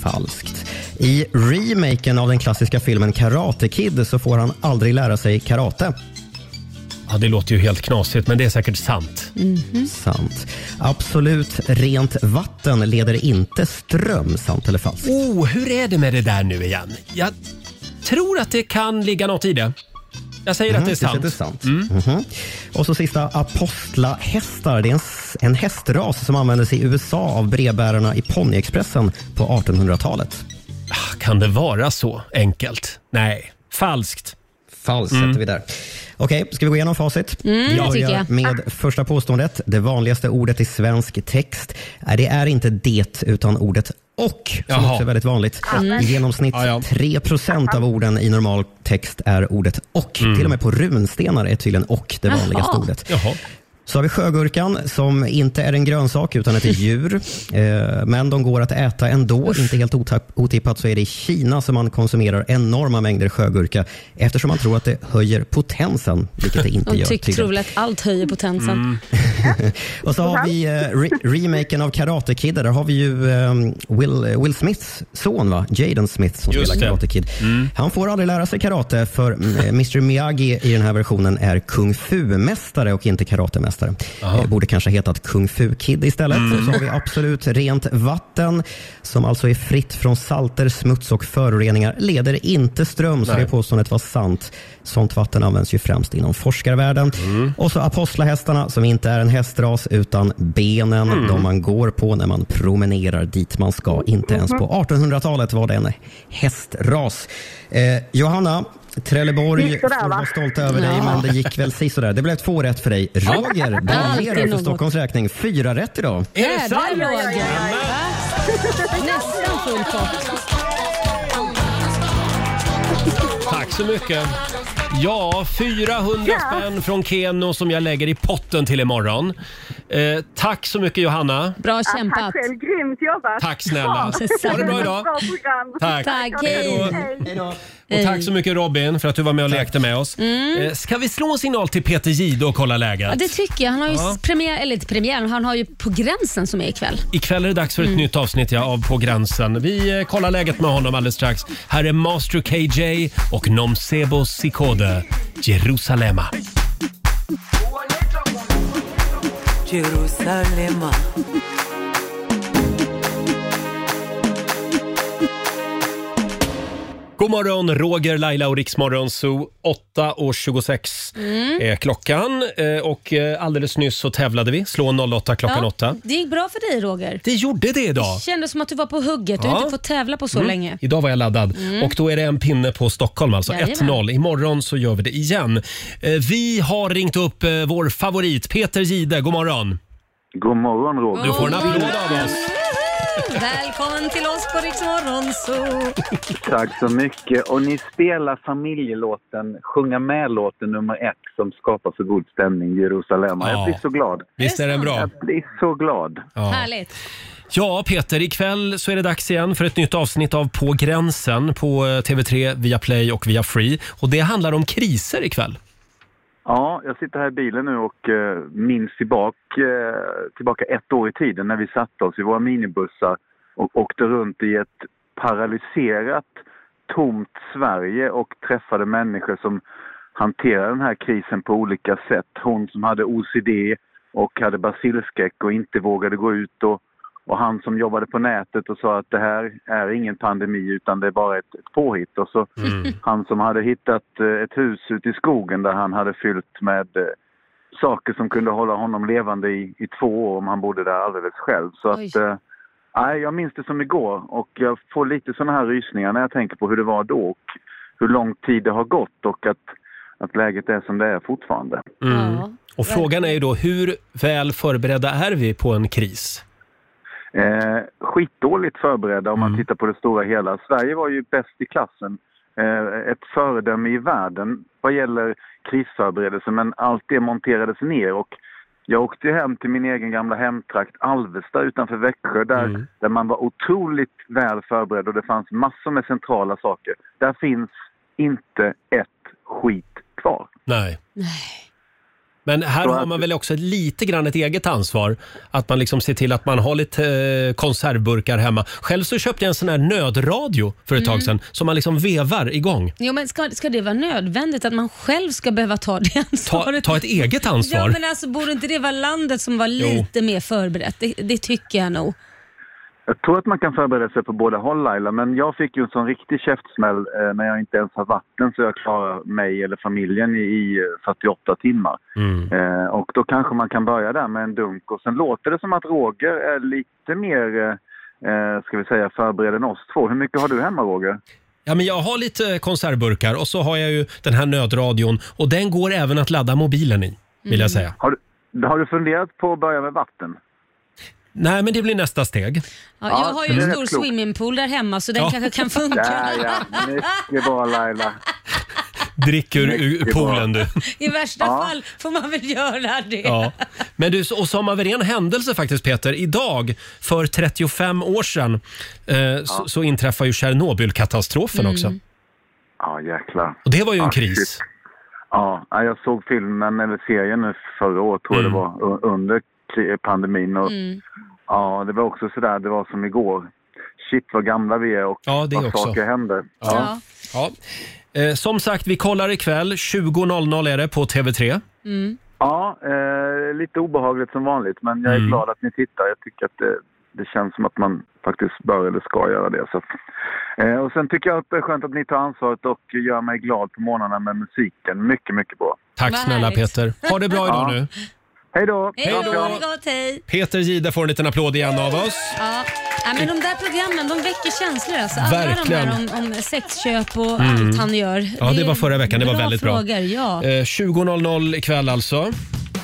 R: Falskt. I remaken av den klassiska filmen Karate Kid så får han aldrig lära sig karate.
A: Ja, det låter ju helt knasigt, men det är säkert sant.
R: Sant. Absolut rent vatten leder inte ström. Sant eller falskt?
A: Oh, hur är det med det där nu igen? Jag tror att det kan ligga något i det. Jag säger att det är
R: Mhm,
A: sant. Mm.
R: du säger att det är sant. Mhm. Och så sista, apostlahästar. Det är en, s- en hästras som användes i USA av brevbärarna i ponnyexpressen på 1800-talet.
A: Ah, Kan det vara så enkelt? Nej, falskt.
R: Falskt sätter vi där. Okej, ska vi gå igenom facit?
B: Mm,
R: vi
B: det tycker
R: börjar
B: jag.
R: med första påståendet. Det vanligaste ordet i svensk text. Nej, det är inte det, utan ordet och, som
A: Jaha.
R: också är väldigt vanligt.
A: Mm.
R: I genomsnitt 3 av orden i normal text är ordet och. Till och med på runstenar är tydligen och det vanligaste ordet. Så har vi sjögurkan som inte är en grönsak utan ett djur. Eh, Men de går att äta ändå. Inte helt otapp- otippat så är det i Kina som man konsumerar enorma mängder sjögurka eftersom man tror att det höjer potensen, vilket det inte
B: De
R: gör.
B: tyck,
R: tydligen.
B: tror väl att allt höjer potensen.
R: Och så har vi eh, re- remaken av Karate Kid. Där har vi ju eh, Will, eh, Will Smiths son, va? Jaden Smith, som
T: Just
R: spelar
T: det. Mm.
R: Karate Kid. Han får aldrig lära sig karate för mm, eh, Mr Miyagi i den här versionen är kung fu-mästare och inte karatemästare. Det borde kanske hetat Kung Fu Kid istället.
T: Mm.
R: Så har vi Absolut rent vatten, som alltså är fritt från salter, smuts och föroreningar, leder inte ström, så
T: Nej.
R: det påståendet var sant. Sånt vatten används ju främst inom forskarvärlden. Och så apostlahästarna, som inte är en hästras, utan benen,
T: Mm.
R: de man går på när man promenerar dit man ska. Inte ens
T: Mhm.
R: på 1800-talet var det en hästras. Eh, Johanna, Trelleborg
T: Gick sådär,
R: får
T: va?
R: vara stolta över dig,
T: Ja.
R: men det gick väl sisådär. Det blev två rätt för dig. Roger,
T: Alltid
R: briljerar för
T: något.
R: Stockholms räkning. Fyra rätt idag.
B: Jädrar, Roger. Va? (laughs) Nästan full pott.
A: Tack så mycket. Ja, 400 spänn från Keno som jag lägger i potten till imorgon. Eh, tack så mycket Johanna.
B: Bra
S: Ja, tack själv, grymt jobbat.
A: Tack snälla.
S: Ja,
A: Ha det bra idag.
S: Bra program.
A: Tack. Tack, hej. Och tack så mycket Robin för att du var med och lekte med oss.
B: Mm.
A: Eh, ska vi slå en signal till Peter Gide och kolla
B: Ja,
A: läget?
B: det tycker jag. Han har ju
A: Ja.
B: premiär, eller inte premiär, men han har ju På gränsen som är ikväll.
A: Ikväll är det dags för ett
B: Mm.
A: nytt avsnitt ja, av På gränsen. Vi eh, kollar läget med honom alldeles strax. Här är Master KJ och Nomsebo Sikode, Jerusalema.
O: Jerusalema.
A: God morgon, Roger, Laila och Riksmorgon Zoo. 8.26
B: Mm.
A: är klockan Eh, och eh, alldeles nyss så tävlade vi. Slå 08 klockan
B: Ja,
A: 8.
B: Det gick bra för dig Roger.
A: Det gjorde det idag.
B: Det kändes som att du var på hugget. Du
A: Ja.
B: har inte fått tävla på så
A: Mm.
B: länge.
A: Idag var jag laddad.
B: Mm.
A: Och då är det en pinne på Stockholm alltså.
B: Jajamän.
A: 1-0. Imorgon så gör vi det igen. Eh, Vi har ringt upp eh, vår favorit Peter Gide. God morgon.
U: God morgon Roger.
A: Du får en applåd av oss.
B: Välkommen till oss på Rix Morgonzoo.
U: Tack så mycket. Och ni spelar familjelåten, sjunga med-låten nummer ett som skapar så god stämning i Jerusalem.
A: Ja.
U: Jag blir så glad.
A: Visst är den bra?
U: Jag blir så glad.
A: Ja.
B: Härligt.
A: Ja, Peter, ikväll så är det dags igen för ett nytt avsnitt av På gränsen på eh, TV3, via Play och via Free. Och det handlar om kriser ikväll.
U: Ja, jag sitter här i bilen nu och eh, minns tillbaka, eh, tillbaka ett år i tiden när vi satte oss i våra minibussar och åkte runt i ett paralyserat, tomt Sverige och träffade människor som hanterade den här krisen på olika sätt. Hon som hade OCD och hade basilskräck och inte vågade gå ut och, och han som jobbade på nätet och sa att det här är ingen pandemi utan det är bara ett, ett påhitt. Och så (laughs) han som hade hittat eh, ett hus ute i skogen där han hade fyllt med eh, saker som kunde hålla honom levande i, i två år om han bodde där alldeles själv. Så
V: Oj.
U: att, eh, nej, jag minns det som igår och jag får lite sådana här rysningar när jag tänker på hur det var då och hur lång tid det har gått och att, att läget är som det är fortfarande.
A: Och frågan är ju då, hur väl förberedda är vi på en kris?
U: Eh, skitdåligt förberedda om man tittar på det stora hela. Sverige var ju bäst i klassen. Eh, ett föredöme i världen vad gäller krisförberedelse men allt det monterades ner och jag åkte ju hem till min egen gamla hemtrakt Alvesta utanför Växjö där, där man var otroligt väl förberedd och det fanns massor med centrala saker. Där finns inte ett skit kvar.
A: Nej. Men här
U: Så
A: har
U: att-
A: man väl också lite grann ett eget ansvar. Att man liksom ser till att man har lite eh, konservburkar hemma. Själv så köpte jag en sån här nödradio för ett
B: Mm.
A: tag sedan som man liksom vevar igång.
B: Jo, men ska, ska det vara nödvändigt att man själv ska behöva ta det
A: Ta,
B: ansvaret?
A: ta ett eget ansvar.
B: Ja, men alltså, borde inte det vara landet som var
U: Jo.
B: lite mer förberett? Det, det tycker jag nog.
U: Jag tror att man kan förbereda sig på båda håll Laila, men jag fick ju en sån riktig käftsmäll eh, när jag inte ens har vatten så jag klarar mig eller familjen i, i eh, 48 timmar. Eh, och då kanske man kan börja där med en dunk och sen låter det som att Roger är lite mer, eh, eh, ska vi säga, förberedd än oss två. Hur mycket har du hemma Roger?
A: Ja, men jag har lite konservburkar och så har jag ju den här nödradion och den går även att ladda mobilen i, vill jag säga.
U: Har du, har du funderat på att börja med vatten?
A: Nej, men det blir nästa steg.
B: Ja,
U: Ja,
B: jag har ju
U: det är
B: en
U: rätt
B: stor
U: klokt.
B: swimmingpool där hemma så den
U: (laughs)
A: Ja.
B: kanske kan funka.
U: Ja, ja. Mycket bra Laila.
A: Drick ur, ur
B: Mycket bra.
A: poolen du.
B: I värsta fall får man väl göra det.
A: Ja. Men du, och som av en ren händelse faktiskt Peter, idag för 35 år sedan eh, så, så inträffar ju Tjernobylkatastrofen
U: Mm.
A: också.
U: Ja, jäklar.
A: Och det var ju en
U: Ah,
A: kris.
U: shit. Ja, nej, jag såg filmen eller serien nu förra året tror
A: Mm.
U: jag det var, u- under kri- pandemin. Och, Ja, det var också sådär, det var som igår. Shit vad gamla vi är och
A: Ja, det
U: vad
A: också.
U: saker händer.
A: Ja. Ja. Eh, som sagt, vi kollar ikväll. 20.00 är det på TV3.
U: Ja, eh, lite obehagligt som vanligt, men
A: Mm.
U: jag är glad att ni tittar. Jag tycker att det, det känns som att man faktiskt bör eller ska göra det. Så. att- Eh, och sen tycker jag att det är skönt att ni tar ansvaret och gör mig glad på morgnarna med musiken. Mycket, mycket bra.
A: Tack snälla Peter. Ha det bra idag
U: Ja.
A: nu.
U: Hej då!
B: Hej då, ha det gott, hej.
A: Peter Gide får en liten applåd igen av oss.
B: Ja. Ja, men de där programmen de väcker känslor. Alltså. Alla
A: Verkligen.
B: de där om, om sexköp och
A: Mm.
B: allt han gör.
A: Ja, det var förra veckan. Det var
B: bra
A: väldigt bra.
B: frågor, Ja.
A: Eh, 20.00 ikväll alltså.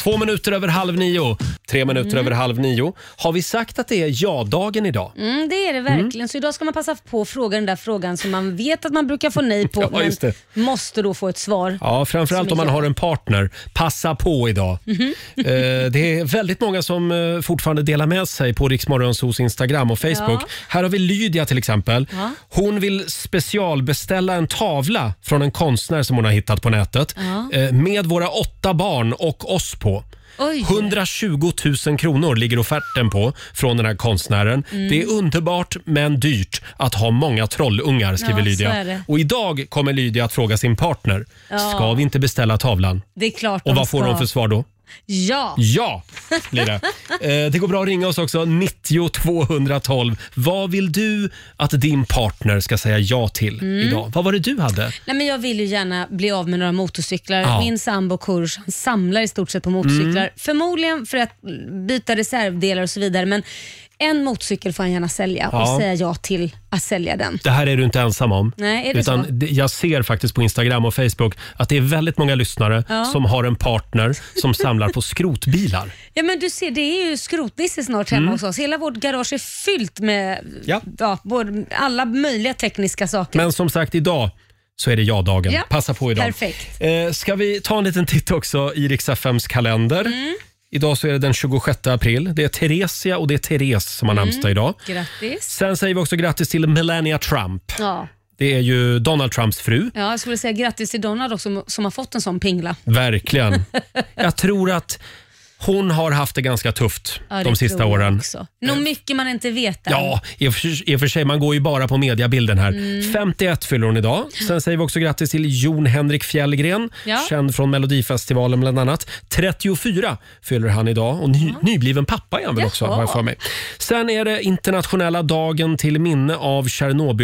A: Två minuter över halv nio. Tre minuter
B: Mm.
A: över halv nio. Har vi sagt att det är ja-dagen idag?
B: Mm, det är det verkligen. Så idag ska man passa på att fråga den där frågan som man vet att man brukar få nej
A: (laughs)
B: på,
A: Ja,
B: men
A: just det.
B: måste då få ett svar.
A: Ja, framförallt
B: Mm. Som
A: om man
B: är
A: har en partner. Passa på idag.
B: Mhm.
A: Eh, det är väldigt många som eh, fortfarande delar med sig på Riksmorgonsos Instagram och Facebook.
B: Ja.
A: Här har vi Lydia till exempel.
B: Ja.
A: Hon vill specialbeställa en tavla från en konstnär som hon har hittat på nätet
B: Ja.
A: eh, med våra åtta barn och oss på.
B: Oj.
A: 120 000 kronor ligger offerten på från den här konstnären.
B: Mm.
A: Det är underbart men dyrt att ha många trollungar skriver
B: Ja, så är
A: Lydia.
B: det.
A: Och idag kommer Lydia att fråga sin partner.
B: Ja.
A: Ska vi inte beställa tavlan?
B: Det är klart
A: Och
B: de
A: vad får
B: ska.
A: hon för svar då?
B: Ja.
A: Ja,
B: (laughs)
A: blir det. Eh, det går bra att ringa oss också, 90 212. Vad vill du att din partner ska säga ja till
B: Mm.
A: idag? Vad var det du hade?
B: Nej, men jag vill ju gärna bli av med några motorcyklar.
A: Ja.
B: Min sambo Kurs han samlar i stort sett på motorcyklar.
A: Mm.
B: Förmodligen för att byta reservdelar och så vidare. Men en motorcykel får han gärna sälja
A: Ja.
B: och säga ja till att sälja den.
A: Det här är du inte ensam om.
B: Nej, är det
A: utan
B: så?
A: det- Jag ser faktiskt på Instagram och Facebook att det är väldigt många lyssnare
B: Ja.
A: som har en partner som samlar på
B: (laughs)
A: skrotbilar.
B: Ja men du ser, det är ju skrotnisse snart hemma
A: Mm.
B: hos oss. Hela vårt garage är fyllt med
A: Ja.
B: både, alla möjliga tekniska saker.
A: Men som sagt, idag så är det ja-dagen.
B: Ja.
A: Passa på idag.
B: Perfekt.
A: Eh, ska vi ta en liten titt också i Rix FMs kalender?
B: Mm.
A: Idag så är det den 26 april. Det är Teresia och det är Therese som har
B: Mm.
A: namnsdag idag.
B: Grattis.
A: Sen säger vi också grattis till Melania Trump.
B: Ja.
A: Det är ju Donald Trumps fru.
B: ja, jag skulle säga grattis till Donald också som, som har fått en sån pingla. (laughs)
A: Verkligen. Jag tror att hon har haft det ganska tufft
B: Ja, det
A: de sista
B: tror jag
A: åren. Eh.
B: också. Nog mycket man inte vet än.
A: Ja, i och, för, i och för sig, man går ju bara på mediabilden här.
B: Mm.
A: 51 fyller hon idag. Sen säger vi också grattis till Jon Henrik Fjällgren,
B: Ja.
A: känd från Melodifestivalen bland annat. 34 fyller han idag och ny, nybliven pappa är han väl också,
B: Jaha.
A: har jag för mig. Sen är det internationella dagen till minne av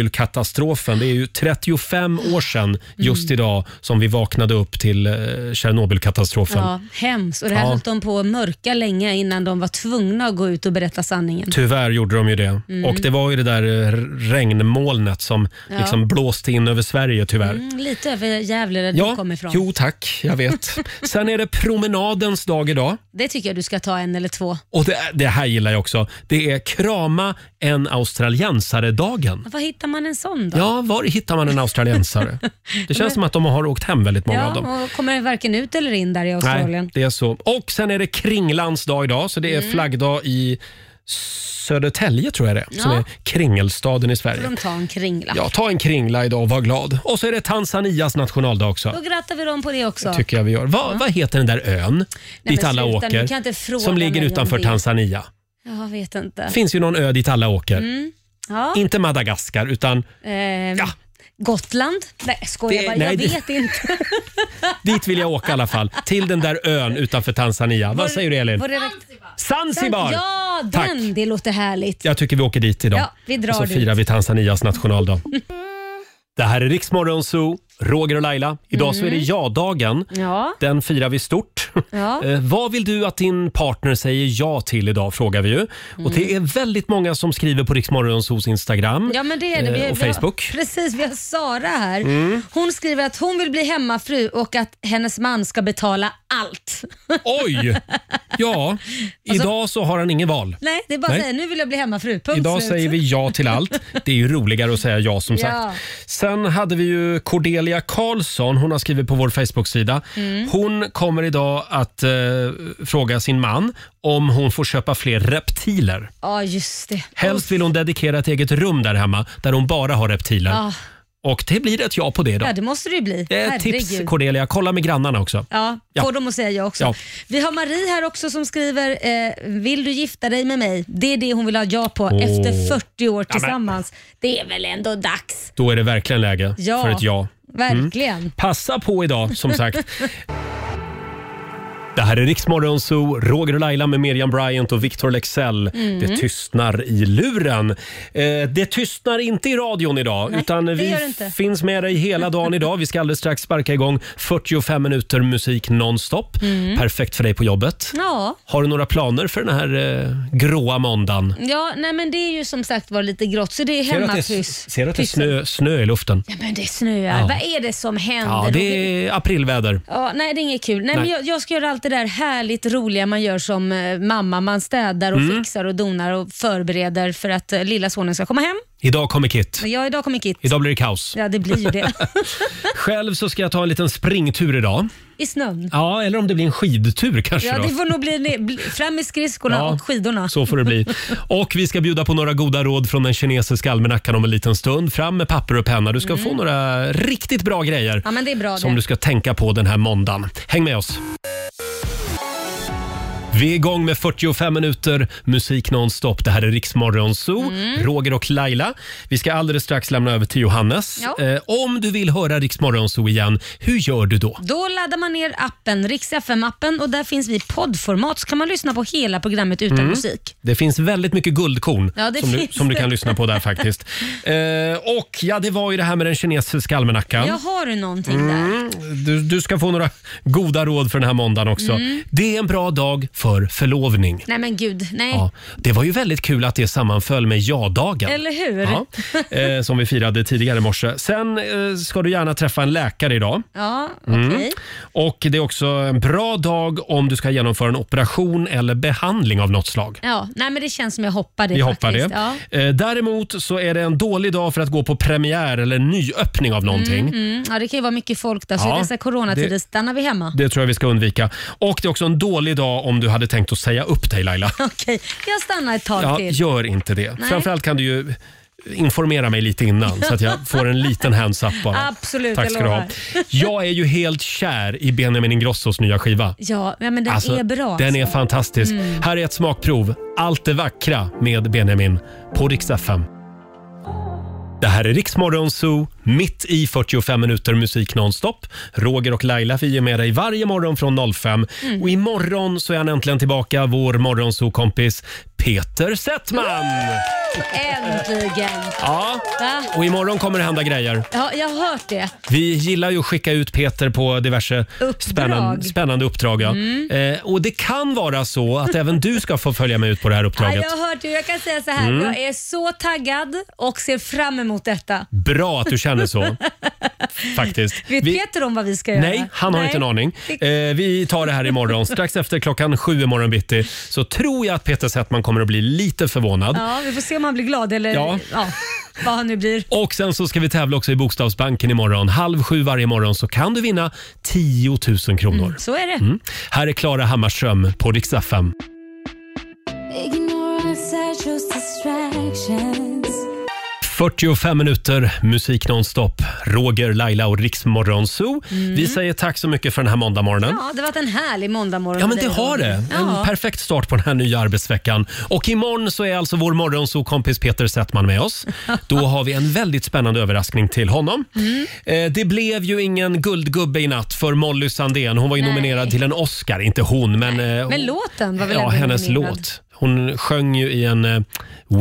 A: Tjernobylkatastrofen. Det är ju 35 år sedan just
B: Mm.
A: idag som vi vaknade upp till eh, Tjernobylkatastrofen.
B: Ja, hemskt. Och det här
A: Ja.
B: höll de på att mörka länge innan de var tvungna att gå ut och berätta sanningen.
A: Tyvärr gjorde de ju det.
B: Mm.
A: Och det var ju det där eh, regnmolnet som
B: Ja.
A: liksom blåste in över Sverige tyvärr.
B: Mm, lite över Gävle där du kommer ifrån.
A: Jo tack, jag
B: (laughs)
A: vet. Sen är det promenadens dag idag.
B: Det tycker jag du ska ta en eller två.
A: Och det, det här gillar jag också. Det är krama en australiensare-dagen.
B: Var hittar man en sån då?
A: Ja, var hittar man en australiensare? Det
B: Men-
A: känns som att de har åkt hem väldigt många av dem.
B: ja och kommer varken ut eller in där i Australien.
A: Nej, det är så. Och sen är det kringlans dag idag, så det är
B: Mm.
A: flaggdag i Södertälje tror jag det är, som
B: Ja.
A: är kringelstaden i Sverige.
B: Får de ta en kringla.
A: Ja, ta en kringla idag och var glad. Och så är det Tanzanias nationaldag också.
B: Då grattar vi dem på det också.
A: tycker jag vi gör. Va, Vad heter den där ön
B: Nej,
A: dit
B: men
A: alla
B: sluta nu,
A: åker?
B: kan inte fråga
A: som ligger
B: mig om
A: utanför
B: det.
A: Tanzania.
B: Jag vet inte.
A: finns ju någon ö dit alla åker.
B: Mm. Ja.
A: Inte Madagaskar, utan
B: Ehm, Gotland? Nej, skojar
A: Det-
B: bara.
A: nej,
B: jag
A: det-
B: vet inte.
A: dit vill jag åka i alla fall. Till den där ön utanför Tanzania. (laughs) Vad säger du Elin?
B: Vår redakt-
A: Zanzibar!
B: Ja, den.
A: Tack.
B: Det låter härligt.
A: Jag tycker vi åker dit idag.
B: Ja, vi drar
A: och så
B: dit.
A: firar vi Tanzanias nationaldag. Det här är Riksmorgon Zoo, Roger och Laila. Idag så är det
B: Mm.
A: ja-dagen.
B: Ja.
A: Den firar vi stort.
B: Ja.
A: Eh, vad vill du att din partner säger ja till idag? Frågar vi ju. Och det är väldigt många som skriver på Riksmorgonsos Instagram
B: Mm. Ja men det är det.
A: eh,
B: Vi-
A: och
B: vi har-
A: Facebook.
B: Precis, vi har Sara här.
A: Mm.
B: Hon skriver att hon vill bli hemmafru och att hennes man ska betala allt.
A: Oj! Ja,
B: Alltså-
A: idag så har han ingen val.
B: (laughs) Nej, det är bara
A: Nej.
B: att säga nu vill jag bli hemmafru. Punkt
A: Idag
B: slut.
A: säger vi ja till allt. Det är ju roligare att säga ja som sagt.
B: Ja.
A: Sen hade vi ju Cordelia Karlsson. Hon har skrivit på vår Facebook-sida.
D: Mm.
A: Hon kommer idag att eh, fråga sin man om hon får köpa fler reptiler.
B: Ja, just det.
A: Helst vill hon dedikera ett eget rum där hemma där hon bara har reptiler.
B: Ja,
A: Och det blir ett ja på det idag.
B: ja det måste det ju bli.
A: Det är ett Eh, tips Cordelia. Kolla med grannarna också.
B: Ja,
A: Ja.
B: får dem att säga ja också.
A: Ja.
B: Vi har Marie här också som skriver, eh, vill du gifta dig med mig? Det är det hon vill ha ja på
A: Åh.
B: efter 40 år
A: Ja, men-
B: tillsammans. Det är väl ändå dags?
A: Då är det verkligen läge
B: Ja,
A: för ett ja. Mm.
B: Verkligen.
A: Passa på idag som sagt. Det här är Riksmorgon Zoo, Roger och Laila med Miriam Bryant och Victor Lexell.
D: Mm.
A: Det tystnar i luren. Eh, det tystnar inte i radion idag, utan vi
D: gör det inte.
A: finns med dig hela dagen idag. Vi ska alldeles strax sparka igång 45 minuter musik nonstop.
D: Mhm.
B: Mm.
A: Perfekt för dig på jobbet.
B: Ja.
A: Har du några planer för den här eh, gråa måndagen?
B: Ja, nej men det är ju som sagt var lite grått så det är
A: Ser du att det,
B: hemmapyss.
A: är- ser du att det är snö,
B: Pyssel.
A: snö i luften?
B: Ja, men det snöar.
A: Ja.
B: Vad är det som händer?
A: Ja, det är aprilväder.
B: Ja, nej, det är inget kul. Nej,
A: Nej.
B: Men jag, jag ska göra allt det där härligt roliga man gör som eh, mamma. Man städar och
A: Mm.
B: fixar och donar och förbereder för att eh, lilla sonen ska komma hem.
A: Idag kommer Kit.
B: Men jag, idag kommer Kit.
A: Idag blir det kaos.
B: Ja, det blir ju
A: (laughs)
B: det.
A: Själv så ska jag ta en liten springtur idag.
B: I snön.
A: Ja, eller om det blir en skidtur kanske
B: Ja,
A: då.
B: det får nog bli ne- bli- fram med skridskorna
A: Ja,
B: och skidorna.
A: Så får det bli. Och vi ska bjuda på några goda råd från den kinesiska almanackan om en liten stund. Fram med papper och penna. Du ska
B: Mm.
A: få några riktigt bra grejer
B: Ja, men det är bra
A: som
B: det.
A: du ska tänka på den här måndagen. Häng med oss! Vi är igång med 45 minuter musik nonstop. Det här är Riksmorgon Zoo,
B: Mm.
A: Roger och Laila. Vi ska alldeles strax lämna över till Johannes.
B: Ja.
A: Eh, om du vill höra Riksmorgon Zoo igen, hur gör du då?
B: Då laddar man ner appen, Rix FM-appen och där finns vi i poddformat så kan man lyssna på hela programmet utan
A: Mm.
B: musik.
A: Det finns väldigt mycket guldkorn
B: Ja, det
A: som, du,
B: finns
A: som du
B: det.
A: kan lyssna på där
B: (laughs)
A: faktiskt. Eh, och ja, det var ju det här med den kinesiska almanackan.
B: Jag har du någonting där?
A: Mm, du, du ska få några goda råd för den här måndagen också.
B: Mm.
A: Det är en bra dag för förlovning.
B: Nej men gud, nej.
A: Ja, det var ju väldigt kul att det sammanföll med ja-dagen.
B: Eller hur?
A: Ja, eh, som vi firade tidigare i morse. Sen eh, ska du gärna träffa en läkare idag.
B: Ja, okej.
A: Mm. Och Det är också en bra dag om du ska genomföra en operation eller behandling av något slag.
B: Ja, nej men det känns som jag hoppar det
A: Vi hoppar
B: faktiskt.
A: det.
B: Ja.
A: Eh, Däremot så är det en dålig dag för att gå på premiär eller nyöppning av någonting.
B: Mm, mm. Ja, det kan ju vara mycket folk där, så
A: Ja,
B: i dessa coronatider
A: det-
B: stannar vi hemma. (laughs)
A: Det tror jag vi ska undvika. Och det är också en dålig dag om du hade tänkt att säga upp dig Laila.
B: Okej, jag stannar ett tag
A: Ja,
B: till.
A: gör inte det.
B: Nej.
A: Framförallt kan du ju informera mig lite innan så att
B: (laughs)
A: jag får en liten hands-up bara.
B: Absolut,
A: Tack
B: jag
A: ska du ha.
B: lovar.
A: Jag är ju helt kär i Benjamin Ingrossos nya skiva.
B: Ja, ja, men den
A: Alltså,
B: är bra.
A: Den är
B: alltså.
A: fantastisk.
B: Mm.
A: Här är ett smakprov. Allt det vackra med Benjamin på Rix FM. Det här är Riksmorgon Zoo, mitt i 45 minuter musik nonstop. Roger och Laila, vi är med dig varje morgon från 05.
B: Mm.
A: Och imorgon så är han äntligen tillbaka, vår morgonzoo-kompis Peter Settman.
B: Äntligen!
A: Ja,
B: Va?
A: och imorgon kommer det hända grejer.
B: Ja, jag har hört det.
A: Vi gillar ju att skicka ut Peter på diverse spännande, spännande uppdrag. Ja.
B: Mm.
A: Eh, och det kan vara så att även du ska få följa med ut på det här
B: Ja,
A: uppdraget.
B: jag har hört det. Jag kan säga så här,
A: Mm.
B: jag är så taggad och ser fram emot detta.
A: Bra att du känner
B: (laughs)
A: så. Faktiskt.
B: Vet
A: Vi-
B: Peter om vad vi ska göra?
A: Nej, han har inte en aning. Eh, vi tar det här imorgon. Strax efter klockan sju imorgon bitti så tror jag att Peter Settman kommer att bli lite förvånad.
B: Ja, vi får se om han blir glad eller
A: Ja.
B: ja. vad han nu blir.
A: Och sen så ska vi tävla också i Bokstavsbanken imorgon. Halv sju varje morgon så kan du vinna 10 000 kronor.
B: Så är det.
A: Mm. Här är Klara Hammarström på Rix FM.
D: Ignorance, I chose distractions.
A: 45 minuter musik nonstop. Roger, Laila och Rix Morgon Zoo.
B: Mm.
A: Vi säger tack så mycket för den här måndagmorgonen.
B: Ja, det har varit en härlig måndagmorgon
A: Ja, men
B: med
A: det
B: dig,
A: har
B: Roger.
A: det. En
B: Ja.
A: perfekt start på den här nya arbetsveckan. Och imorgon så är alltså vår morgonsokompis Peter Settman med
B: (laughs)
A: oss. Då har vi en väldigt spännande överraskning till honom.
B: Mm.
A: Eh, Det blev ju ingen guldgubbe i natt för Molly Sandén. Hon var ju
B: Nej.
A: nominerad till en Oscar, inte hon, men... eh,
B: Men låten var väl
A: ja,
B: ändå
A: hennes
B: nominerad?
A: låt. Hon sjöng ju i en eh,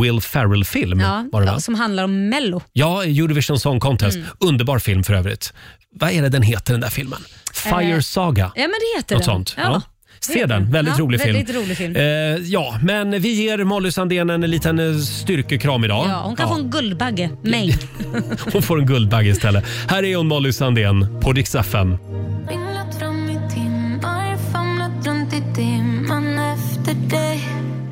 A: Will Ferrell-film.
B: Ja,
A: Mm, var det, va?
B: som handlar om Mello.
A: Ja, Eurovision Song Contest.
B: Mm.
A: Underbar film för övrigt. Vad är det den heter, den där filmen? Fire
B: Eh,
A: Saga?
B: Ja, men det heter
A: Något
B: den.
A: sånt. Ja.
B: Ja.
A: Se den, väldigt,
B: Ja,
A: rolig,
B: väldigt
A: film.
B: rolig film.
A: Eh, ja, men vi ger Molly Sandén en liten eh, styrkekram idag.
B: Ja, hon kan få en Guldbagge. Mäng.
A: Hon får en guldbagge istället. Här är hon Molly Sandén på Dix FM.